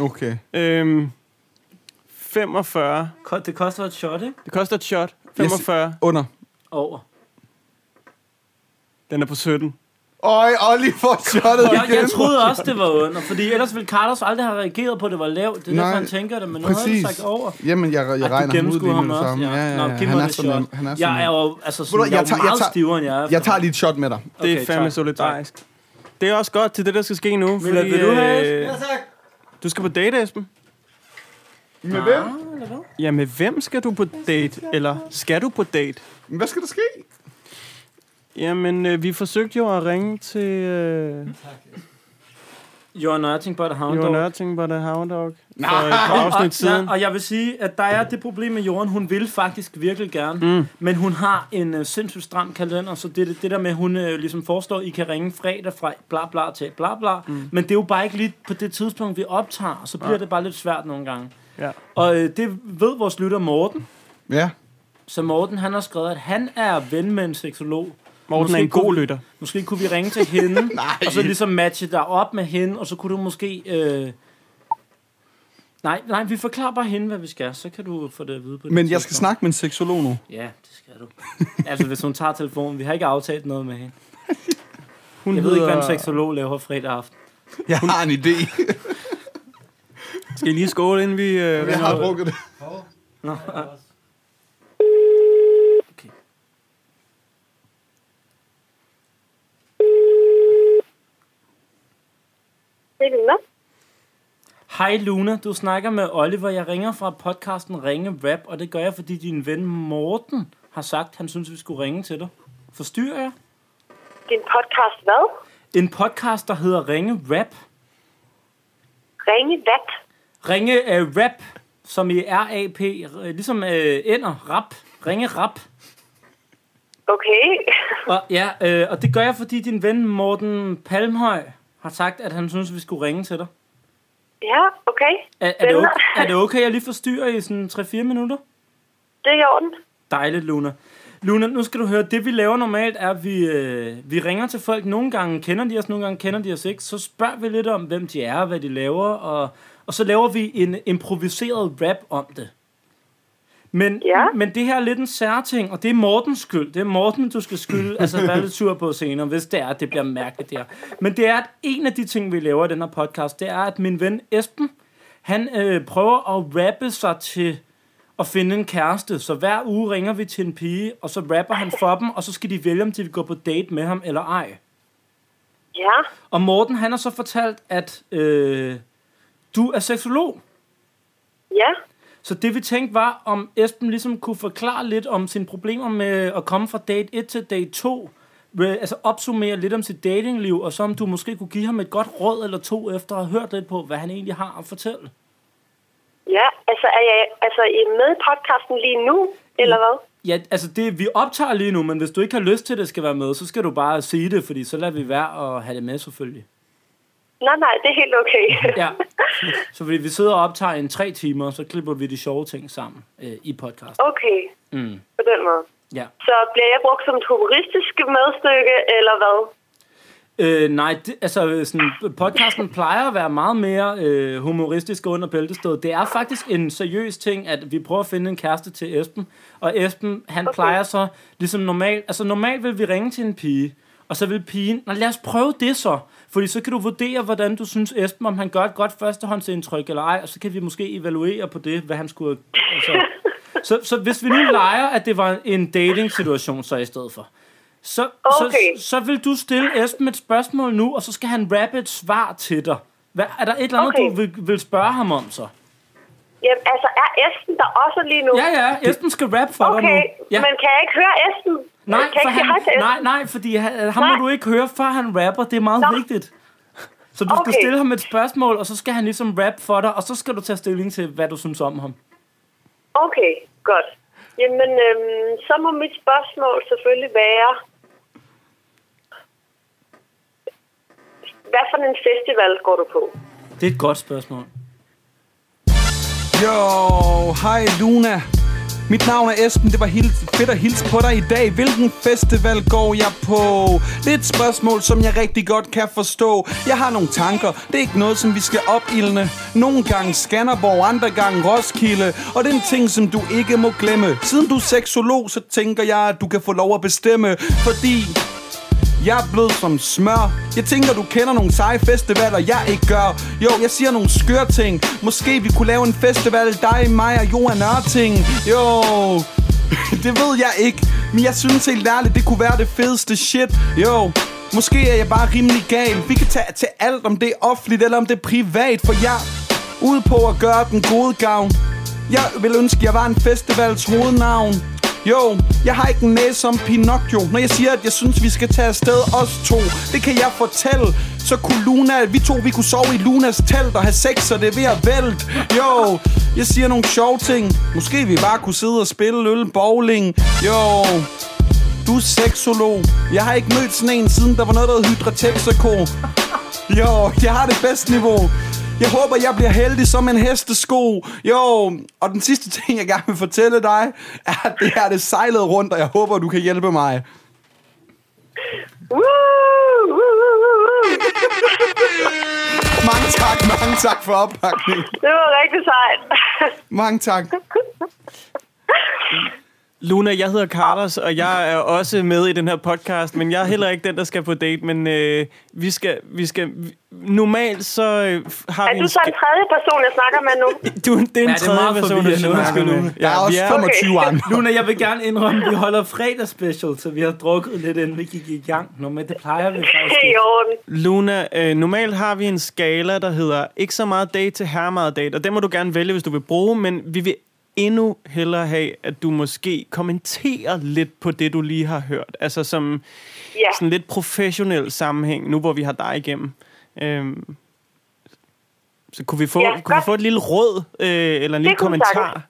Okay.
Øhm, 45.
Ko- Det koster et shot, ikke?
Det koster et shot. 45.
Under.
Over.
Den er på 17.
Øj, Olli får shottet
Jeg,
igen.
jeg troede også, det var under, fordi ellers ville Carlos aldrig have reageret på, at det var lavt. Det er
Nej,
derfor, han tænker det, men nu havde
Præcis.
han sagt over.
Jamen, jeg, jeg
Ej, du
regner ham ud
gennemskuer
lige
ham
med det
også,
samme.
ja.
Ja, ja,
Nå,
ja.
giv
han,
mig
er
det
så
shot.
nem. han er så
Jeg er
nem.
jo altså
Ved du
sådan,
hvad,
jeg,
jeg
er
tager-
jo
jeg
meget
tager-
stivere, end jeg er.
Jeg tager lige et shot med dig.
Det er
Okay,
fandme
tak.
solidarisk. Det er også godt til det, der skal ske nu.
Miller, vil du have
øh, du skal på date, Esben.
Med hvem?
Ja, med hvem skal du på date? Eller skal du på date?
Men Hvad skal der ske?
Jamen, øh, vi forsøgte jo at ringe til øh,
You're nothing but a hound
Johan
dog.
Ørting, var det Hound Dog? Nej. For et par
og,
afsnit siden.
ja, og jeg vil sige, at der er det problem med Jorden. Hun vil faktisk virkelig gerne, mm. men hun har en uh, sindssygt stram kalender, så det, det der med, at hun uh, ligesom foreslår, at I kan ringe fredag fra bla bla til bla bla, mm. men det er jo bare ikke lige på det tidspunkt, vi optager, så bliver ja. det bare lidt svært nogle gange.
Ja.
Og uh, det ved vores lytter Morten,
Ja.
så Morten han har skrevet, at han er ven med en seksolog.
Morten er en
Måske kunne
god
vi-
lytter.
Måske kunne vi ringe til hende, og så ligesom matche dig op med hende, og så kunne du måske... Øh... Nej, nej, vi forklarer bare hende, hvad vi skal. Så kan du få det at vide på det
Men jeg skal
tidspunkt.
snakke med en seksolog nu.
Ja, det skal du. altså, hvis hun tager telefonen. Vi har ikke aftalt noget med hende.
Hun
Jeg ved ikke, hvad en
hedder-
seksolog laver fredag aften.
Jeg har en idé.
Skal I lige skåle, inden vi... Øh,
Jeg har drukket det.
Det er Luna.
Hej Luna, du snakker med Oliver. Jeg ringer fra podcasten Ringe Rap, og det gør jeg, fordi din ven Morten har sagt, han synes, vi skulle ringe til dig. Forstyrrer jeg?
Din podcast hvad?
En podcast, der hedder Ringe Rap.
Ringe Vat.
Ringe øh, rap, som i R-A-P, øh, ligesom øh, ender, rap, ringe rap.
Okay.
Og, ja, øh, og det gør jeg, fordi din ven Morten Palmhøj har sagt, at han synes, vi skulle ringe til dig.
Ja, okay.
Er, er, det,
Spændende.
okay, er det okay, jeg lige forstyrrer i sådan 3-4 minutter?
Det er i orden.
Dejligt, Luna. Luna, nu skal du høre, det vi laver normalt er, at vi, øh, vi ringer til folk. Nogle gange kender de os, nogle gange kender de os ikke. Så spørger vi lidt om, hvem de er og hvad de laver, og, og så laver vi en improviseret rap om det. Men,
Ja.
men det her er lidt en særting, og det er Mortens skyld. Det er Morten, du skal skylde, altså være lidt sur på senere, hvis det er, at det bliver mærkeligt der. Men det er, at en af de ting, vi laver i den her podcast, det er, at min ven Esben, han øh, prøver at rappe sig til at finde en kæreste. Så hver uge ringer vi til en pige, og så rapper han for dem, og så skal de vælge, om de vil gå på date med ham eller ej.
Ja,
Og Morten, han har så fortalt, at øh, du er seksolog.
ja.
Så det vi tænkte var, om Esben ligesom kunne forklare lidt om sine problemer med at komme fra date 1 til date 2. Øh, Altså opsummere lidt om sit datingliv, og så om du måske kunne give ham et godt råd eller to, efter at have hørt lidt på, hvad han egentlig har at fortælle.
Ja, altså er jeg altså, er I med i podcasten lige nu, eller hvad?
Ja, altså det, vi optager lige nu, men hvis du ikke har lyst til, at det skal være med, så skal du bare sige det, fordi så lader vi være og have det med selvfølgelig.
Nej, nej, det er helt okay.
Ja, så fordi vi sidder og optager i en tre timer, så klipper vi de sjove ting sammen øh, i podcast.
Okay,
Mm.
på den måde.
Ja.
Så bliver jeg brugt som et humoristisk medstykke, eller hvad?
Øh, nej, det, altså sådan, podcasten plejer at være meget mere øh, humoristisk og under bæltestedet. Det er faktisk en seriøs ting, at vi prøver at finde en kæreste til Esben. Og Esben, han okay. plejer så, ligesom normalt, altså normalt vil vi ringe til en pige, og så vil pigen, Nå, lad os prøve det så. Fordi så kan du vurdere, hvordan du synes Esben, om han gør et godt førstehåndsindtryk eller ej, og så kan vi måske evaluere på det, hvad han skulle... Altså. Så, så hvis vi nu leger, at det var en dating-situation så i stedet for, så,
Okay.
så, så vil du stille Esben et spørgsmål nu, og så skal han rappe et svar til dig. Hvad, er der et eller andet, okay.
Okay.
du vil, vil spørge ham om så?
Jamen, altså, er Esben der også lige nu?
Ja, ja, Esben skal rappe for dig
Okay,
nu. Ja.
men kan jeg ikke høre Esben?
Nej,
kan jeg
for
ikke sige
han,
hej til Esben?
nej, nej, fordi han, ham
Nej.
må du ikke høre, før han rapper. Det er meget Nå. vigtigt. Så du okay. skal
Okay.
stille ham et spørgsmål, og så skal han ligesom rap for dig, og så skal du tage stilling til, hvad du synes om ham.
Okay, godt. Jamen, øhm, så må mit spørgsmål selvfølgelig være... Hvad for en festival går du på?
Det er et godt spørgsmål.
Jo, hej Luna. Mit navn er Esben, det var hils- fedt at hilse på dig i dag. Hvilken festival går jeg på? Det er et spørgsmål, som jeg rigtig godt kan forstå. Jeg har nogle tanker, det er ikke noget, som vi skal opildne. Nogle gange Skanderborg, andre gange Roskilde. Og det er en ting, som du ikke må glemme. Siden du er seksolog, så tænker jeg, at du kan få lov at bestemme. Fordi jeg er blød som smør Jeg tænker, du kender nogle seje festivaler, jeg ikke gør Jo, jeg siger nogle skøre ting Måske vi kunne lave en festival, dig, mig og Johan Ørting Jo, det ved jeg ikke Men jeg synes helt ærligt, det kunne være det fedeste shit Jo, måske er jeg bare rimelig gal Vi kan tage til alt, om det er offentligt eller om det er privat For jeg er ude på at gøre den gode gavn Jeg vil ønske, jeg var en festivals hovednavn jo, jeg har ikke en næse som Pinocchio Når jeg siger, at jeg synes, vi skal tage afsted os to Det kan jeg fortælle Så kunne Luna, vi to, vi kunne sove i Lunas telt Og have sex, så det er ved at vælte Jo, jeg siger nogle sjove ting Måske vi bare kunne sidde og spille øl bowling Jo, du er seksolog. Jeg har ikke mødt sådan en, siden der var noget, der hed Hydratexaco. Jo, jeg har det bedste niveau. Jeg håber, jeg bliver heldig som en hestesko. Jo, og den sidste ting, jeg gerne vil fortælle dig, er, at det her det sejlede rundt, og jeg håber, du kan hjælpe mig. Mange tak, mange tak for opbakningen.
Det var rigtig sejt.
Mange tak.
Luna, jeg hedder Carlos, og jeg er også med i den her podcast, men jeg er heller ikke den, der skal på date, men øh, vi skal... Vi skal vi, normalt så øh, har
Er
vi
du
en...
så en tredje person, jeg snakker med nu?
Du, det er en
Ja,
ja,
det er meget
tredje person, der
forvirrende,
snakker
undskyld,
med.
Luna.
Der er også
vi
25 andre.
Luna, jeg vil gerne indrømme, at vi holder fredagsspecial, så vi har drukket lidt, inden vi gik i gang. Nå, men det plejer vi faktisk
Det er i
ikke.
orden.
Luna, øh, normalt har vi en skala, der hedder ikke så meget date til her meget date, og den må du gerne vælge, hvis du vil bruge, men vi vil endnu hellere have, at du måske kommenterer lidt på det, du lige har hørt. Altså som
Ja.
sådan lidt professionel sammenhæng, nu hvor vi har dig igennem. Øhm, så kunne vi få,
Ja,
ja, kunne vi
godt.
få et lille råd, øh, eller
kunne
en lille
vi
kommentar?
sagtens.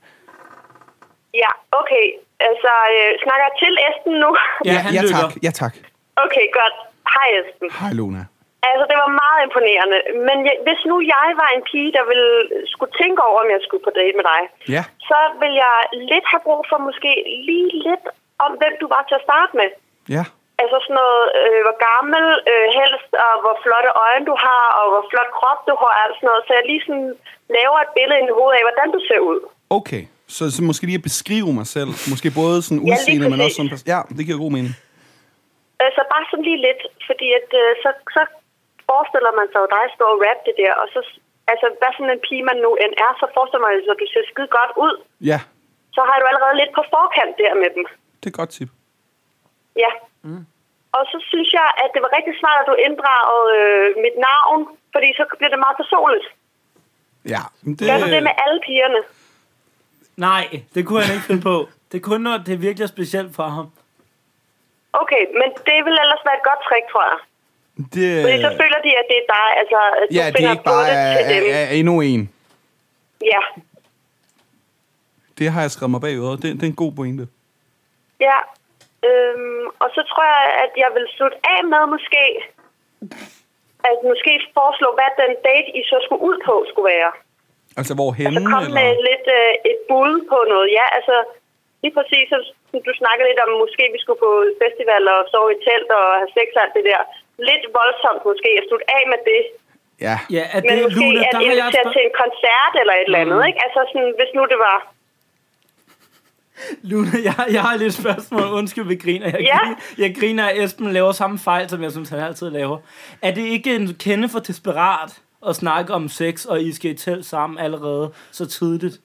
Ja, okay. Altså, øh, snakker jeg til Esben nu?
Ja, han
ja,
lytter.
tak. Ja, tak.
Okay, godt. Hej Esben.
Hej, Luna.
Altså, det var meget imponerende. Men jeg, hvis nu jeg var en pige, der ville skulle tænke over, om jeg skulle på date med dig,
Ja.
så vil jeg lidt have brug for måske lige lidt om, hvem du var til at starte med.
Ja.
Altså sådan noget, øh, hvor gammel øh, helst, og hvor flotte øjne du har, og hvor flot krop du har, og sådan noget. Så jeg lige sådan laver et billede i hovedet af, hvordan du ser ud.
Okay, så, så måske lige at beskrive mig selv. Måske både sådan
lige
udseende, men også
præcis.
som person. Ja, det giver god mening.
Altså bare sådan lige lidt, fordi at, øh, så, så forestiller man sig jo dig stå og rappe det der, og så, altså hvad sådan en pige man nu end er, så forestiller man sig, at du ser skide godt ud.
Ja,
Så har du allerede lidt på forkant der med dem.
det er et godt tip.
Ja. Mm. Og så synes jeg, at det var rigtig smart, at du inddragede øh, mit navn, fordi så bliver det meget personligt.
Ja, men det,
Gør du det med alle pigerne?
Nej, det kunne han ikke finde på. Det er kun, når det virkelig er specielt for ham.
Okay, men det vil ellers være et godt trick, tror jeg.
det,
Fordi så føler de, at det er dig, altså at du
Øh. ja, det er
finder
ikke
på
bare øh,
det til
er,
dem.
er, er endnu en.
Ja.
Det har jeg skrevet mig bagud, og det, det er en god pointe.
Ja. Øhm, og så tror jeg, at jeg vil slutte af med måske, at måske foreslå, hvad den date, I så skulle ud på, skulle være.
Altså, hvor henne?
Så kom med
Eller?
lidt øh, et bud på noget. Ja, altså lige præcis, som du snakkede lidt om, måske vi skulle på festival og sove i telt og have sex og alt det der. lidt voldsomt måske at slutte af med det.
Ja.
Ja, at
Men
det,
måske
Luna,
at
der har jeg Mm. et
invitere
spørg-
til en koncert eller et eller andet, ikke? Altså sådan, hvis nu det var...
Luna, jeg, jeg har lige et spørgsmål. Undskyld, vi griner. Jeg,
Ja.
griner, jeg griner, at Esben laver samme fejl, som jeg synes, han altid laver. Er det ikke en kende for desperat at snakke om sex, og I skal i telt sammen allerede så tidligt?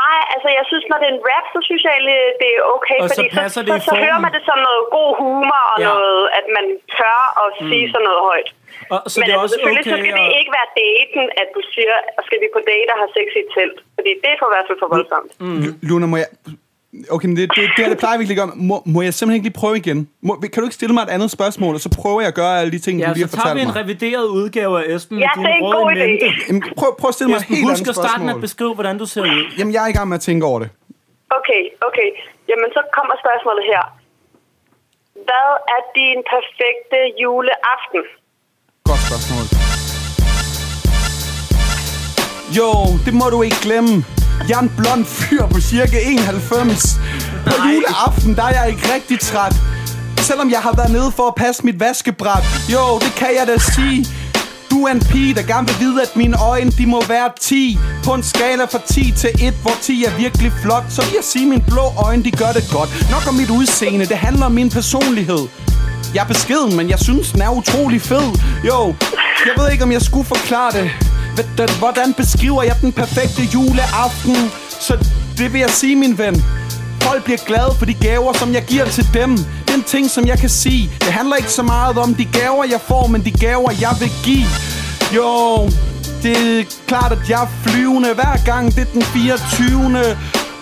Nej, altså jeg synes, når det er en rap, så synes jeg egentlig, det er okay.
Og så
fordi
passer
så,
det i
så, så hører
formen.
man det som noget god humor og
Ja.
ja. noget, at man tør at
Mm.
sige sådan noget højt.
Og, så
Men
det er
altså,
også
selvfølgelig så
okay
skal det
at-
ikke være daten, at du siger, skal vi på date og have sex i et telt? Fordi det er for i hvert fald for voldsomt.
Mm. Luna, må jeg... Okay, men det, det, det, her, det plejer vi ikke at gøre. Må, må jeg simpelthen ikke lige prøve igen? Må, kan du ikke stille mig et andet spørgsmål, og så prøver jeg at gøre alle de ting,
Ja,
du lige har
så tager vi
fortalt
en
mig?
revideret udgave af Esben
Ja,
med
det er
dine
en
råd
god
i
idé.
mente.
Jamen, prøv, prøv at stille mig et
Esben,
helt
husk
andet
at starte med at
spørgsmål.
beskrive, hvordan du ser ud.
Jamen, jeg er i gang med at tænke over det.
Okay, okay. Jamen, så kommer spørgsmålet her. Hvad er din perfekte juleaften?
Godt spørgsmål. Jo, det må du ikke glemme. Jeg er en blond fyr på cirka 91. På juleaften, der er jeg ikke rigtig træt. Selvom jeg har været nede for at passe mit vaskebræt. Jo, det kan jeg da sige. Du er en pige, der gerne vil vide, at mine øjne, de må være 10. På en skala fra 10 til 1, hvor 10 er virkelig flot. Så vil jeg sige, at mine blå øjne, de gør det godt. Nok om mit udseende, det handler om min personlighed. Jeg er beskeden, men jeg synes, den er utrolig fed. Jo, jeg ved ikke, om jeg skulle forklare det. Ved- den- Hvordan beskriver jeg den perfekte juleaften? Så det vil jeg sige, min ven. Folk bliver glade for de gaver, som jeg giver til dem. Det er en ting, som jeg kan sige. Det handler ikke så meget om de gaver, jeg får, men de gaver, jeg vil give. Jo, det er klart, at jeg er flyvende hver gang. Det er den 24.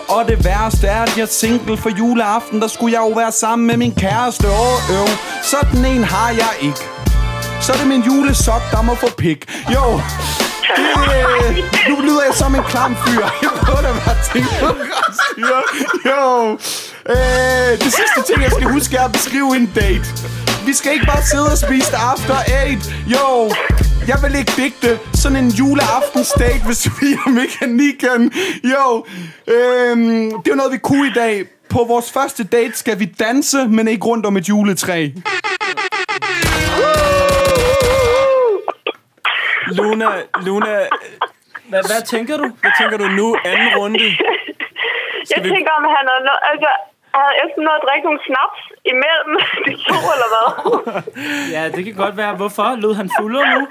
Og det værste er, at jeg er single for juleaften. Der skulle jeg jo være sammen med min kæreste. Åh, øv. Sådan en har jeg ikke. Så er det min julesok, der må få pik. Jo, det, øh, nu lyder jeg som en klam fyr. Jeg prøver da at være tænkt på godt Jo, øh, det sidste ting, jeg skal huske, er at beskrive en date. Vi skal ikke bare sidde og spise det after eight. Jo, jeg vil ikke digte sådan en juleaftensdate, hvis vi er mekanikken. Jo, øhm, det er jo noget, vi kunne i dag. På vores første date skal vi danse, men ikke rundt om et juletræ.
Luna, Luna,
Hvad, hvad tænker du?
hvad tænker du nu? Anden runde?
Jeg
vi-
tænker, om han havde noget... Altså, havde Esben noget at drikke nogle snaps imellem de to, eller hvad?
Ja, det kan godt være. Hvorfor? Lød han fuldere nu?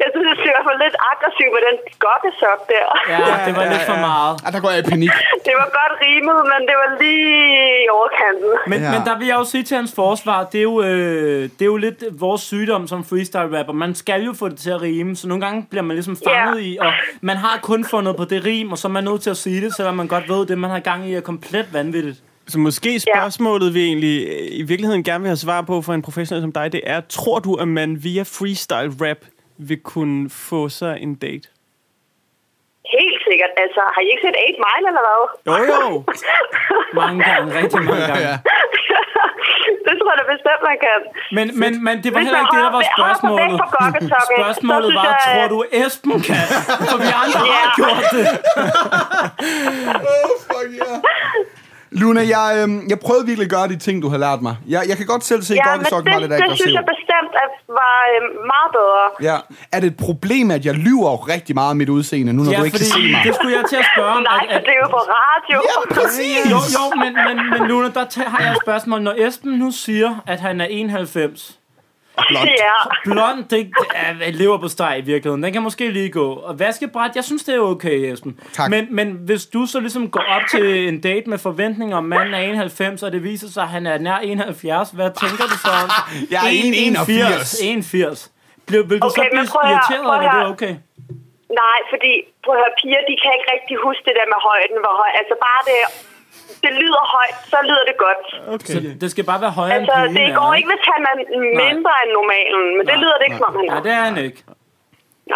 Jeg synes, det er i hvert fald lidt aggressivt med den gokkesok der.
Ja, det var lidt for meget.
Ah, der går jeg i panik.
Det var godt rimet, men det var lige i overkanten.
Men, ja.
Ja.
men der vil jeg jo sige til hans forsvar, det er jo, øh, det er jo lidt vores sygdom som freestyle-rapper. Man skal jo få det til at rime, så nogle gange bliver man ligesom fanget
Ja.
i, og man har kun fundet på det rim, og så er man nødt til at sige det, selvom man godt ved, det man har gang i er komplet vanvittigt.
Så måske spørgsmålet, vi egentlig øh, i virkeligheden gerne vil have svar på for en professionel som dig, det er, tror du, at man via freestyle rap vil kunne få sig en date?
Helt sikkert. Altså, har I ikke set 8 Mile, eller hvad?
Jo, jo.
Mange gange, rigtig mange gange. ja.
det tror jeg da bestemt, man kan.
men, men, men det var
Hvis
heller
man
ikke det, der var
holder- holder sig væk
spørgsmålet.
fra gokketokken, så
Spørgsmålet
synes
var,
jeg,
tror
at-
du Esben kan? For vi andre
Ja.
har gjort det.
Luna, jeg, øhm, jeg prøvede virkelig at gøre de ting, du har lært mig. Jeg, jeg kan godt selv se, at
Ja, men
ja, Gokkesok var
det,
lidt
det, det
aggressiv.
synes jeg bestemt at var øh, meget bedre.
Ja. Er det et problem, at jeg lyver jo rigtig meget om mit udseende, nu når ja,
Ja,
du ikke kan se
fordi
mig?
det skulle jeg til at spørge om.
Nej,
at-
for
at-
det er jo på radio.
præcis!
Jo, jo, men, men, men Luna, der ta- har jeg et spørgsmål. Når Esben nu siger, at han er 91,
Ja,
blond, det er lever på steg i virkeligheden. Den kan måske lige gå. Og vaskebræt, jeg synes, det er okay, Esben.
Tak.
Men, men hvis du så ligesom går op til en date med forventninger om manden er 91, og det viser sig, at han er nær 71, hvad tænker du så om?
Jeg er
81. 81. Bliver, vil du
Okay,
så
men
blive
prøv at høre,
irriteret,
prøv at
eller det er
høre.
okay?
nej, fordi på her piger, de kan ikke rigtig huske det der med højden. Hvor høj. Altså bare det, det lyder højt, så lyder det godt.
Okay. Så det skal bare være højere
Altså,
end
det
pigen
går
er,
ikke, hvis han er mindre end normalen, men det lyder det ikke, som om han
Nej,
er.
det er han ikke.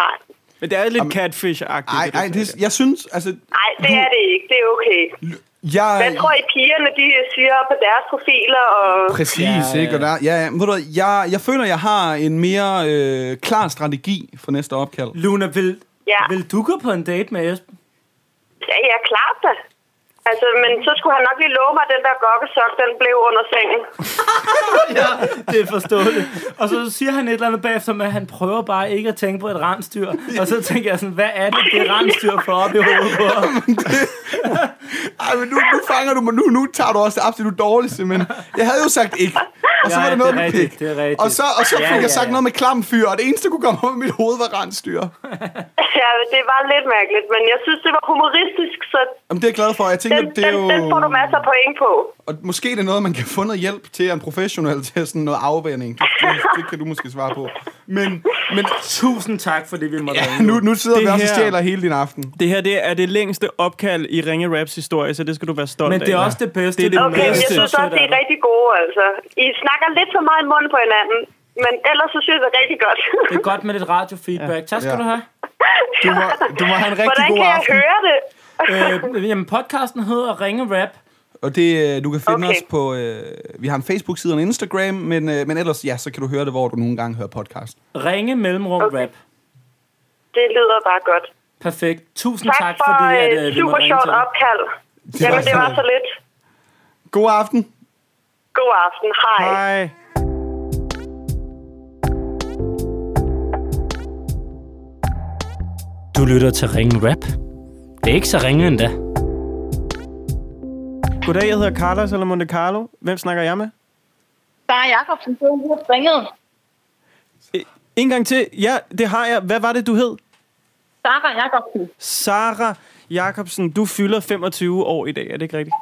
Nej,
Men det er lidt catfish-agtigt.
Ej,
det der
ej,
foregår.
det, jeg synes, altså...
nej, det er det ikke. Det er okay. Hvad
Jeg,
tror I, pigerne, de siger på deres profiler? Og...
Præcis,
Ja,
ja,
ja.
ja. ikke? Og der, ja, ja. Men Ved du, hvad, jeg, jeg føler, jeg har en mere øh, klar strategi for næste opkald.
Luna, vil,
Ja.
vil du gå på en date med Esben?
Ja, ja, klart da. Altså, men så skulle han nok lige love mig, at den der gokkesok, den blev under sengen.
Det er forståeligt. Og så siger han et eller andet bagefter med, at han prøver bare ikke at tænke på et rensdyr. Og så tænker jeg sådan, hvad er det, det rensdyr får op i hovedet på ham?
Ej, men nu, nu fanger du mig. Nu, nu tager du også det absolut dårligste, men jeg havde jo sagt ikke. Og så
Ja,
var
det
der
er
noget med
rigtigt,
pik.
det er rigtigt.
Og så, og så
Ja,
fik
ja,
jeg sagt
ja.
noget med klam fyr, og det eneste, der kunne komme op i mit hoved, var rensdyr.
ja, det var lidt mærkeligt, men jeg synes, det var humoristisk, så
Jamen, det er jeg glad for. Jeg tænker,
den,
det er
den,
jo...
den får du masser af point på.
Og måske det er noget, man kan få noget hjælp til af en professionel til sådan noget afvænding. Det, det, det kan du måske svare på. Men, men
Tusind tak for det, vi måtte
ja, nu, nu sidder
Det
vi også og
her-
stjæler hele din aften.
Det her det er det længste opkald i Ringe Raps historie, så det skal du være stolt
Men det er
af.
også det bedste.
Det er det
du
Okay,
med.
jeg synes også, det er rigtig gode, altså. I snakker lidt for meget i munden på hinanden, men ellers så synes jeg, det er rigtig godt.
Det er godt med lidt radiofeedback. Tak skal
Ja.
du have.
Du må, du må have en rigtig
Hvordan
god
kan jeg
aften.
høre det?
Øh, jamen, podcasten hedder Ringe Rap.
Og det, øh, du kan finde
Okay.
os på... Øh, vi har en Facebook-side og en Instagram, men, øh, men ellers, ja, så kan du høre det, hvor du nogle gange hører podcast.
Ringe Mellemrum
Okay.
Rap.
Det lyder bare godt.
Perfekt. Tusind
Tak,
tak,
for
fordi
øh,
at, øh, vi
super
måtte ringe
sjovt
til dig.
opkald. Jamen, det var så lidt.
God aften.
God aften. Hej.
Hej.
Du lytter til Ringe Rap. Det er ikke så ringe endda.
Goddag, jeg hedder Carlos eller Monte Carlo. Hvem snakker jeg med?
Sara Jacobsen, du har ringet.
Øh, En gang til. Ja, det har jeg. Hvad var det, du hed?
Sara Jacobsen.
Sara Jacobsen, du fylder 25 år i dag, er det ikke rigtigt?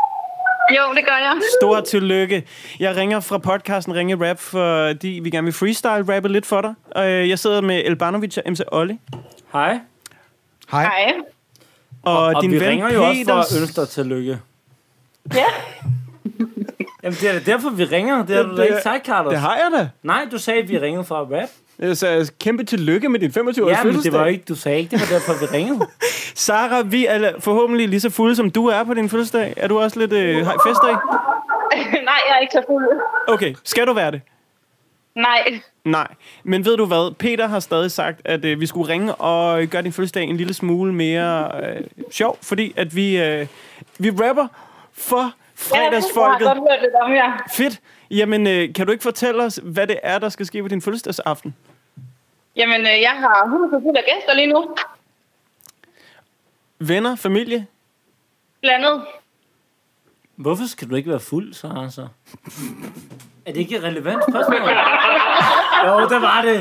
Jo, det gør jeg.
Stor tillykke. Jeg ringer fra podcasten Ringe Rap, fordi vi gerne vil freestyle-rappe lidt for dig. Og øh, jeg sidder med Elbanovic og MC Olli.
Hej.
Hej.
Hej.
Og,
Og
din
vi
ven
ringer
Peters...
jo også for at ønske dig tillykke.
Ja.
Jamen, det er da derfor, vi ringer. Det har du da
Det-
ikke sagt, Carlos.
Det har jeg da.
Nej, du sagde, at vi ringede for at rap.
Øh, Så altså, kæmpe tillykke med din 25 års
Ja, men det var
fødselsdag.
jo ikke, du sagde ikke, det var derfor, vi ringede.
Sara, vi er forhåbentlig lige så fulde, som du er på din fødselsdag. Er du også lidt øh, har- fester i?
Nej, jeg er ikke så fuld.
Okay, skal du være det?
Nej.
Nej. Men ved du hvad? Peter har stadig sagt, at øh, vi skulle ringe og gøre din fødselsdag en lille smule mere øh, sjov, fordi at vi, øh, vi rapper for fredagsfolket.
Jeg har godt hørt lidt om jer.
Fedt. Jamen, øh, kan du ikke fortælle os, hvad det er, der skal ske på din fødselsdagsaften?
Jamen, øh, jeg har 100% af gæster lige nu.
Venner, familie?
Blandet.
Hvorfor skal du ikke være fuld, så altså? Er det ikke et relevant spørgsmål? jo, det var det.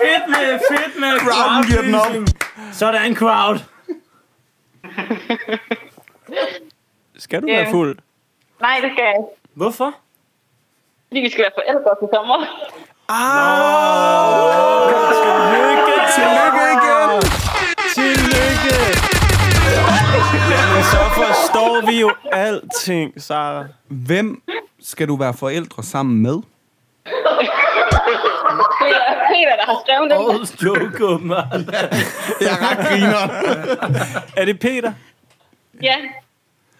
Fedt med, fedt med
Crowden giver den op.
crowdfusing. Sådan crowd.
Skal du
Ja.
være fuld?
Nej, det skal jeg ikke.
Hvorfor?
Fordi vi skal være forældre til sommer.
Lykke til.
Lykke igen!
Tillykke! Jamen, så forstår vi jo alting, Sara.
Hvem skal du være forældre sammen med?
Det er Peter, der har skrevet den.
Årets joke, mand.
Jeg er ret griner.
Er det Peter?
Ja.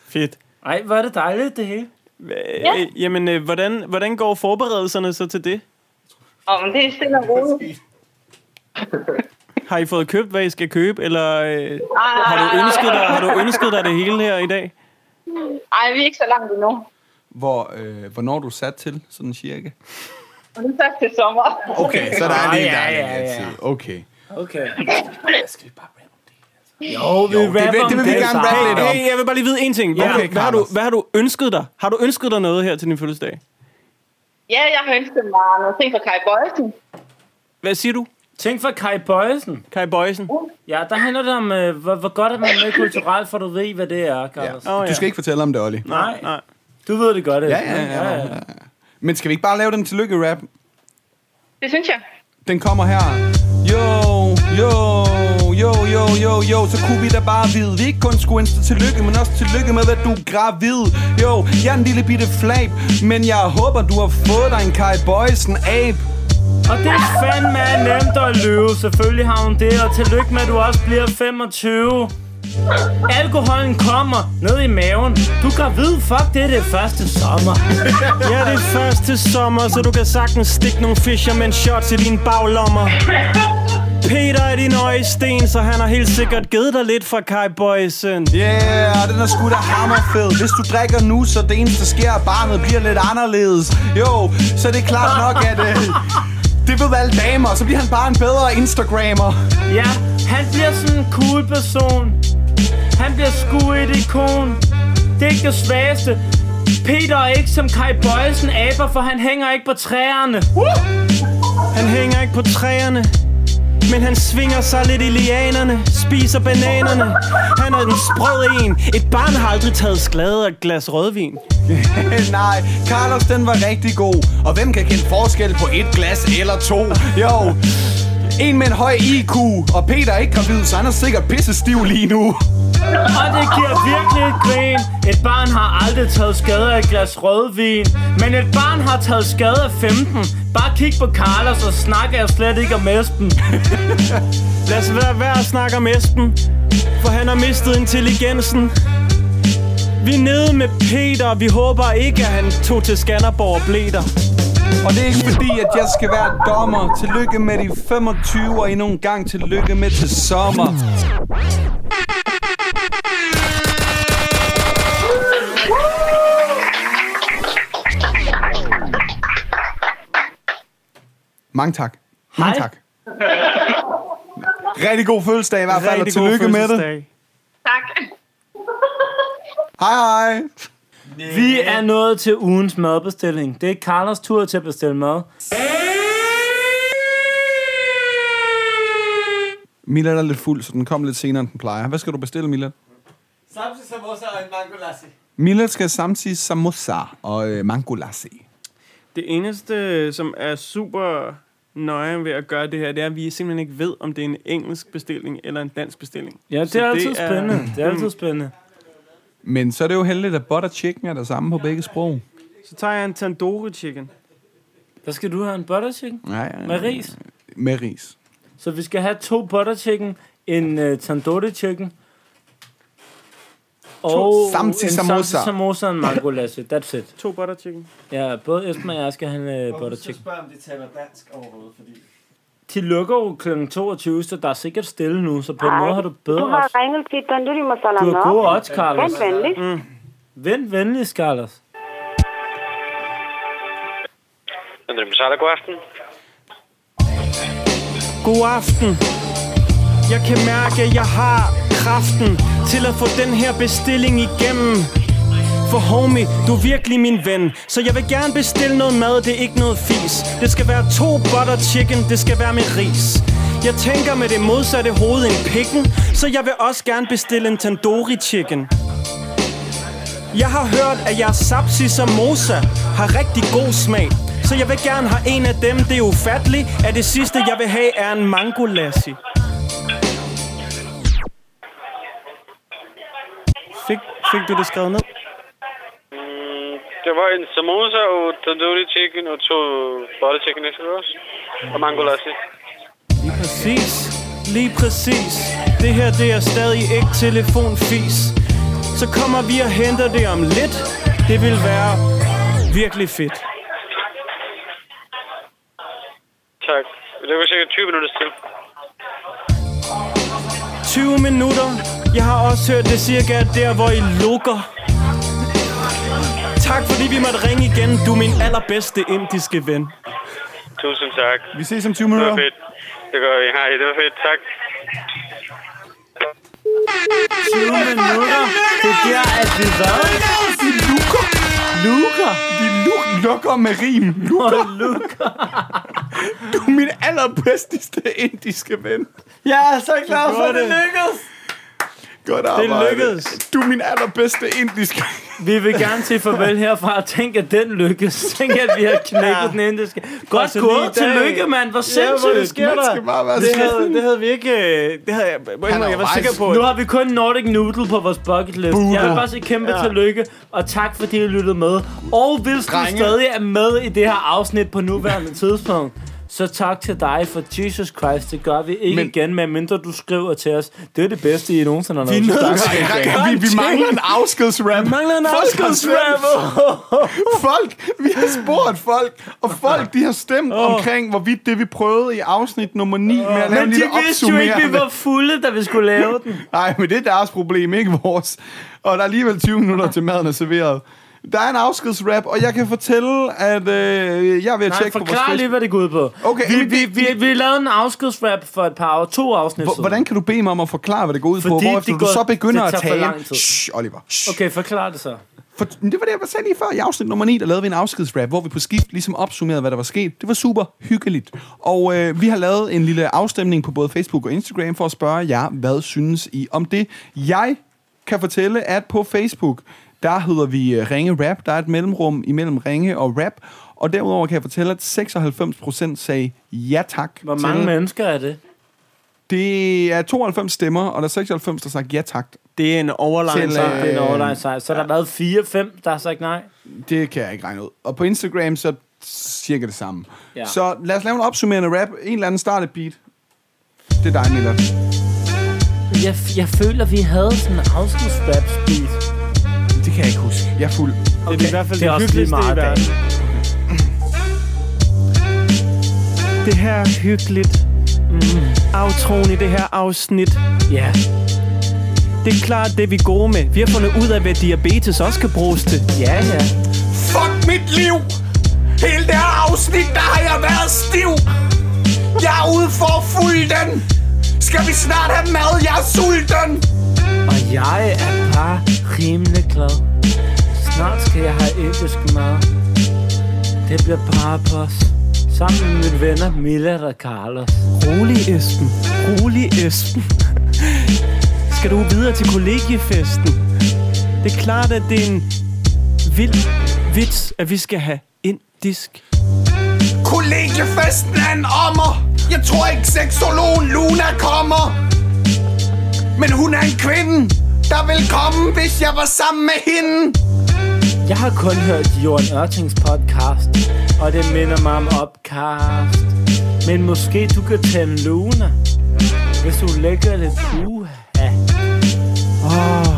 Fedt.
Ej, hvor er det dejligt, det hele.
Ja. Øh, jamen, øh, hvordan, hvordan går forberedelserne så til det?
Og men det er stille og roligt.
Har I fået købt, hvad I skal købe, eller øh,
Ej,
har, du ønsket dig, har du ønsket dig det hele her i dag?
ej, vi er ikke så langt endnu.
Hvor, øh, hvornår er du sat til, sådan cirka?
Og nu først til sommer.
Okay, så der er lige
Ah, ja,
en
ja,
ja, ja,
ja.
tid. Okay.
Okay. Jo, vi
Jo, det
rapper
vil-
om
det vil vi gerne
Sara.
rappe lidt om.
Hey, jeg vil bare lige vide en ting. Hvad,
Ja.
okay,
Okay,
hvad, har du,
Carlos.
hvad har du ønsket dig? Har du ønsket dig noget her til din fødselsdag?
Ja, jeg har ønsket mig nogle ting fra Kai Bøjelsen.
Hvad siger du,
Tænk for Kai Bøjesen.
Kai Bøjsen?
Ja, der handler det om, øh, hvor, hvor godt er man med kulturelt, for du ved, hvad det er, Carlos.
Ja. Du skal ikke fortælle om det, Olli.
Nej. Du ved det godt, ikke?
Ja, ja, ja, ja. Men skal vi ikke bare lave den tillykke-rap?
Det synes jeg.
Den kommer her. Jo, jo, jo, jo, jo, jo, så kunne vi da bare vide. Vi ikke kun skulle ønske dig tillykke, men også tillykke med, at du er gravid. Jo, jeg er en lille bitte flab, men jeg håber, du har fået dig en Kai Boysen abe.
Og det er fandme nemt at løbe. Selvfølgelig har hun det, og tillykke med, at du også bliver 25. Alkoholen kommer ned i maven. Du er gravid, fuck, det er det første sommer.
Ja, det er første sommer, så du kan sagtens stikke nogle fisherman shots i dine baglommer. Peter er din øjesten, så han har helt sikkert givet dig lidt fra Kai Boysen.
Yeah, den er sgu da hammerfed Hvis du drikker nu, så det eneste der sker at Barnet bliver lidt anderledes Jo, så det er klart nok, at øh, Det ved alle damer Så bliver han bare en bedre Instagrammer
Ja, han bliver sådan en cool person. Han bliver sgu et ikon. Det er ikke det svageste. Peter er ikke som Kai Bøjelsen aber, for han hænger ikke på træerne.
Han hænger ikke på træerne men han svinger sig lidt i lianerne Spiser bananerne Han er en sprød en Et barn har aldrig taget skade af et glas rødvin
Nej, Carlos den var rigtig god Og hvem kan kende forskel på et glas eller to? Jo, en med en høj IQ Og Peter er ikke gravid, så han er sikkert pissestiv lige nu
Og det giver virkelig et grin Et barn har aldrig taget skade af et glas rødvin Men et barn har taget skade af 15 Bare kig på Carlos og snakker jeg slet ikke om Esben
Lad os være værd at snakke om Esben For han har mistet intelligensen Vi er nede med Peter og Vi håber ikke at han tog til Skanderborg og blev der
Og det er ikke fordi, at jeg skal være dommer Tillykke med de 25 Og endnu en gang tillykke med til sommer Mange tak. Mange tak. Rigtig god fødselsdag i hvert fald, og
Rigtig god
tillykke med det.
fødselsdag.
Hej hej.
Vi er nået til ugens madbestilling. Det er Carlos tur til at bestille mad.
Mila er lidt fuld, så den kom lidt senere, end den plejer. Hvad skal du bestille, Mila?
Samtidig samosa og en mango lassi.
Mila skal samtidig samosa og øh, mango lassi.
Det eneste, som er super nøje ved at gøre det her, det er, at vi simpelthen ikke ved, om det er en engelsk bestilling eller en dansk bestilling.
Ja, det
Så
er altid spændende. Det er altid
Mm.
spændende.
Mm. Men så er det jo heldigt, at butter chicken er det samme på begge sprog.
Mm. Så tager jeg en tandoori chicken.
Hvad skal du have? En butter chicken?
Nej, ja,
Med ris?
Med ris.
Så vi skal have to butter chicken, en uh, tandoori chicken, og
samtidig
en
samosa.
samtidig samosa og en mango lassi. That's it.
To butter chicken.
Ja, både Esben og jeg skal have en uh,
Og
butter
husk at
chicken.
spørge, om de taler dansk overhovedet, fordi...
De lukker jo kl. 22, så der er sikkert stille nu, så på en
Ej,
måde har du bedre...
Du har ringet til Tandoori Masala
Du har
Nok.
gode odds, Carlos.
Vent venligst.
Mm. Vent venligst, Carlos.
André Masala, god aften.
God aften. Jeg kan mærke, at jeg har kraften til at få den her bestilling igennem. For homie, du er virkelig min ven Så jeg vil gerne bestille noget mad, det er ikke noget fis Det skal være to butter chicken, det skal være med ris Jeg tænker med det modsatte hoved end pikken Så jeg vil også gerne bestille en tandoori chicken jeg har hørt, at jeres sapsi samosa har rigtig god smag. Så jeg vil gerne have en af dem. Det er ufatteligt, at det sidste, jeg vil have, er en mango lassi. Fik, fik du det skrevet ned?
Mm, det var en samosa og tandoori chicken og to butter chicken extra Og mango lassi.
Lige præcis. Lige præcis. Det her, det er stadig ikke telefonfis. Så kommer vi og henter det om lidt. Det vil være virkelig fedt.
Tak. Det var cirka 20 minutter til.
20 minutter. Jeg har også hørt det cirka er der, hvor I lukker. Tak fordi vi måtte ringe igen. Du er min allerbedste indiske ven.
Tusind tak.
Vi ses om 20
Det
minutter.
var fedt. Det gør vi. Hej, det var fedt. Tak.
20 minutter. Det er der, at vi hvad?
De lukker. Lukker. De luk- lukker med rim. Lukker.
lukker.
du er min allerbedste indiske ven.
Jeg er så glad for, at det lykkedes!
Godt
Det
arbejde.
lykkedes.
Du er min allerbedste indiske
Vi vil gerne sige farvel herfra. Tænk, at den lykkes. Tænk, at vi har knækket ja. den indiske. Godt
Altså, lige i
gået.
dag.
Tillykke, mand. Hvor sindssygt.
hvor det sker der. det, havde, det havde vi ikke... øh, Det havde jeg... Jeg, jeg, jeg var sikker på... at-
Nu har vi kun Nordic Noodle på vores bucket list.
Buddha.
Jeg vil bare sige kæmpe ja.
Ja.
tillykke, og tak fordi I lyttede med. Og hvis du
Drenge.
stadig er med i det her afsnit på nuværende tidspunkt, så tak til dig for Jesus Christ. Det gør vi ikke Men... igen, medmindre du skriver til os. Det er det bedste, I nogensinde har
Vi er
nået
nødt
til.
til- der kan- vi- vi mangler en afskedsrap.
Mangler en
Folk har
afskedsrap.
folk, vi har spurgt folk, og folk de har stemt oh. omkring, hvorvidt det vi prøvede i afsnit nummer 9 oh. med at lave
Men
en
de
lille
vidste jo ikke, vi
opsummerende.
var fulde, da vi skulle lave den.
Nej, men det er deres problem, ikke vores. Og der er alligevel 20 minutter til maden er serveret. Der er en afskedsrap, og jeg kan fortælle, at øh, jeg er ved at
Nej,
tjekke på vores
forklar lige, hvad det går ud på.
Okay,
vi,
men
vi, vi, vi lavede en afskedsrap for et par år, to afsnit
Hvor- Hvordan kan du bede mig om at forklare, hvad det går ud på,
Fordi
hvorefter
det
du
går-
så begynder
det
at
tager for
tale?
lang tid.
Shh, Oliver. Shh.
Okay, forklar det så.
For, det var det, jeg sagde lige før. I afsnit nummer 9, der lavede vi en afskedsrap, hvor vi på skift ligesom opsummerede, hvad der var sket. Det var super hyggeligt. Og øh, vi har lavet en lille afstemning på både Facebook og Instagram for at spørge jer, hvad synes I om det? Jeg kan fortælle, at på Facebook, der hedder vi øh, Ringe Rap. Der er et mellemrum imellem Ringe og Rap. Og derudover kan jeg fortælle, at 96% sagde ja tak.
Hvor mange
til-
mennesker er det?
Det er 92 stemmer, og der er 96, der har sagt ja tak.
Det er en overlang
Så
øh,
er det en overline sejr. Så har der været fire, fem, der har sagt nej.
Det kan jeg ikke regne ud. Og på Instagram, så cirka det samme.
Ja.
Ja. Så lad os lave en opsummerende rap. En eller anden startet beat. Det er dig, Miller.
Jeg, jeg føler, vi havde sådan en afskedsrap speed.
Det kan jeg ikke huske. Jeg er fuld.
Okay. Det er i hvert fald det,
er
det
også lige
hyggeligste i
meget i dag.
verden. Det her er hyggeligt. Mm. Aftroen i det her afsnit.
Ja. Yeah.
Det er klart, det er vi gode med. Vi har fundet ud af, hvad diabetes også kan bruges til.
Ja, ja.
Fuck mit liv! Hele det her afsnit, der har jeg været stiv! Jeg er ude for at fulde den! Skal vi snart have mad? Jeg er sulten!
Og jeg er bare rimelig glad. Snart skal jeg have indisk mad. Det bliver parapos. Sammen med mine venner Milla og Carlos.
Rolig, Esben. Rolig, Esben. Skal du videre til kollegiefesten? Det er klart, at det er en vild vits, at vi skal have indisk.
Kollegiefesten er en ommer! Jeg tror ikke, seksologen Luna kommer! Men hun er en kvinde, der vil komme, hvis jeg var sammen med hende!
Jeg har kun hørt Jørgen Ørtings podcast, og det minder mig om Opcast. Men måske du kan tænde Luna, hvis du lægger lidt puha.
Åh, oh,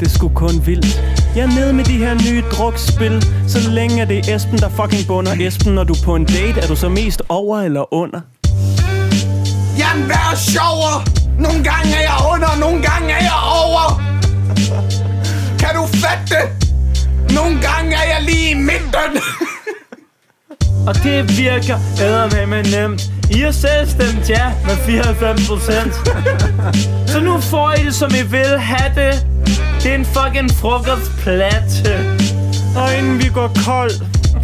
det skulle kun vildt. Jeg er nede med de her nye drukspil. Så længe er det er Esben, der fucking bunder Esben, når du er på en date, er du så mest over eller under?
Jeg er en værre sjover! Nogle gange er jeg under, nogle gange er jeg over! Kan du fatte det? Nogle gange er jeg lige i midten!
Og det virker æder med nemt. I har selv stemt ja med 94 procent. Så nu får I det, som I vil have det. Det er en fucking frokostplate.
Og inden vi går kold,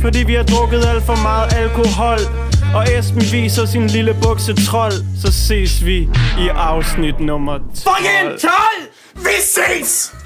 fordi vi har drukket alt for meget alkohol, og Esben viser sin lille bukse trold, så ses vi i afsnit nummer 12.
Fucking 12! Vi ses!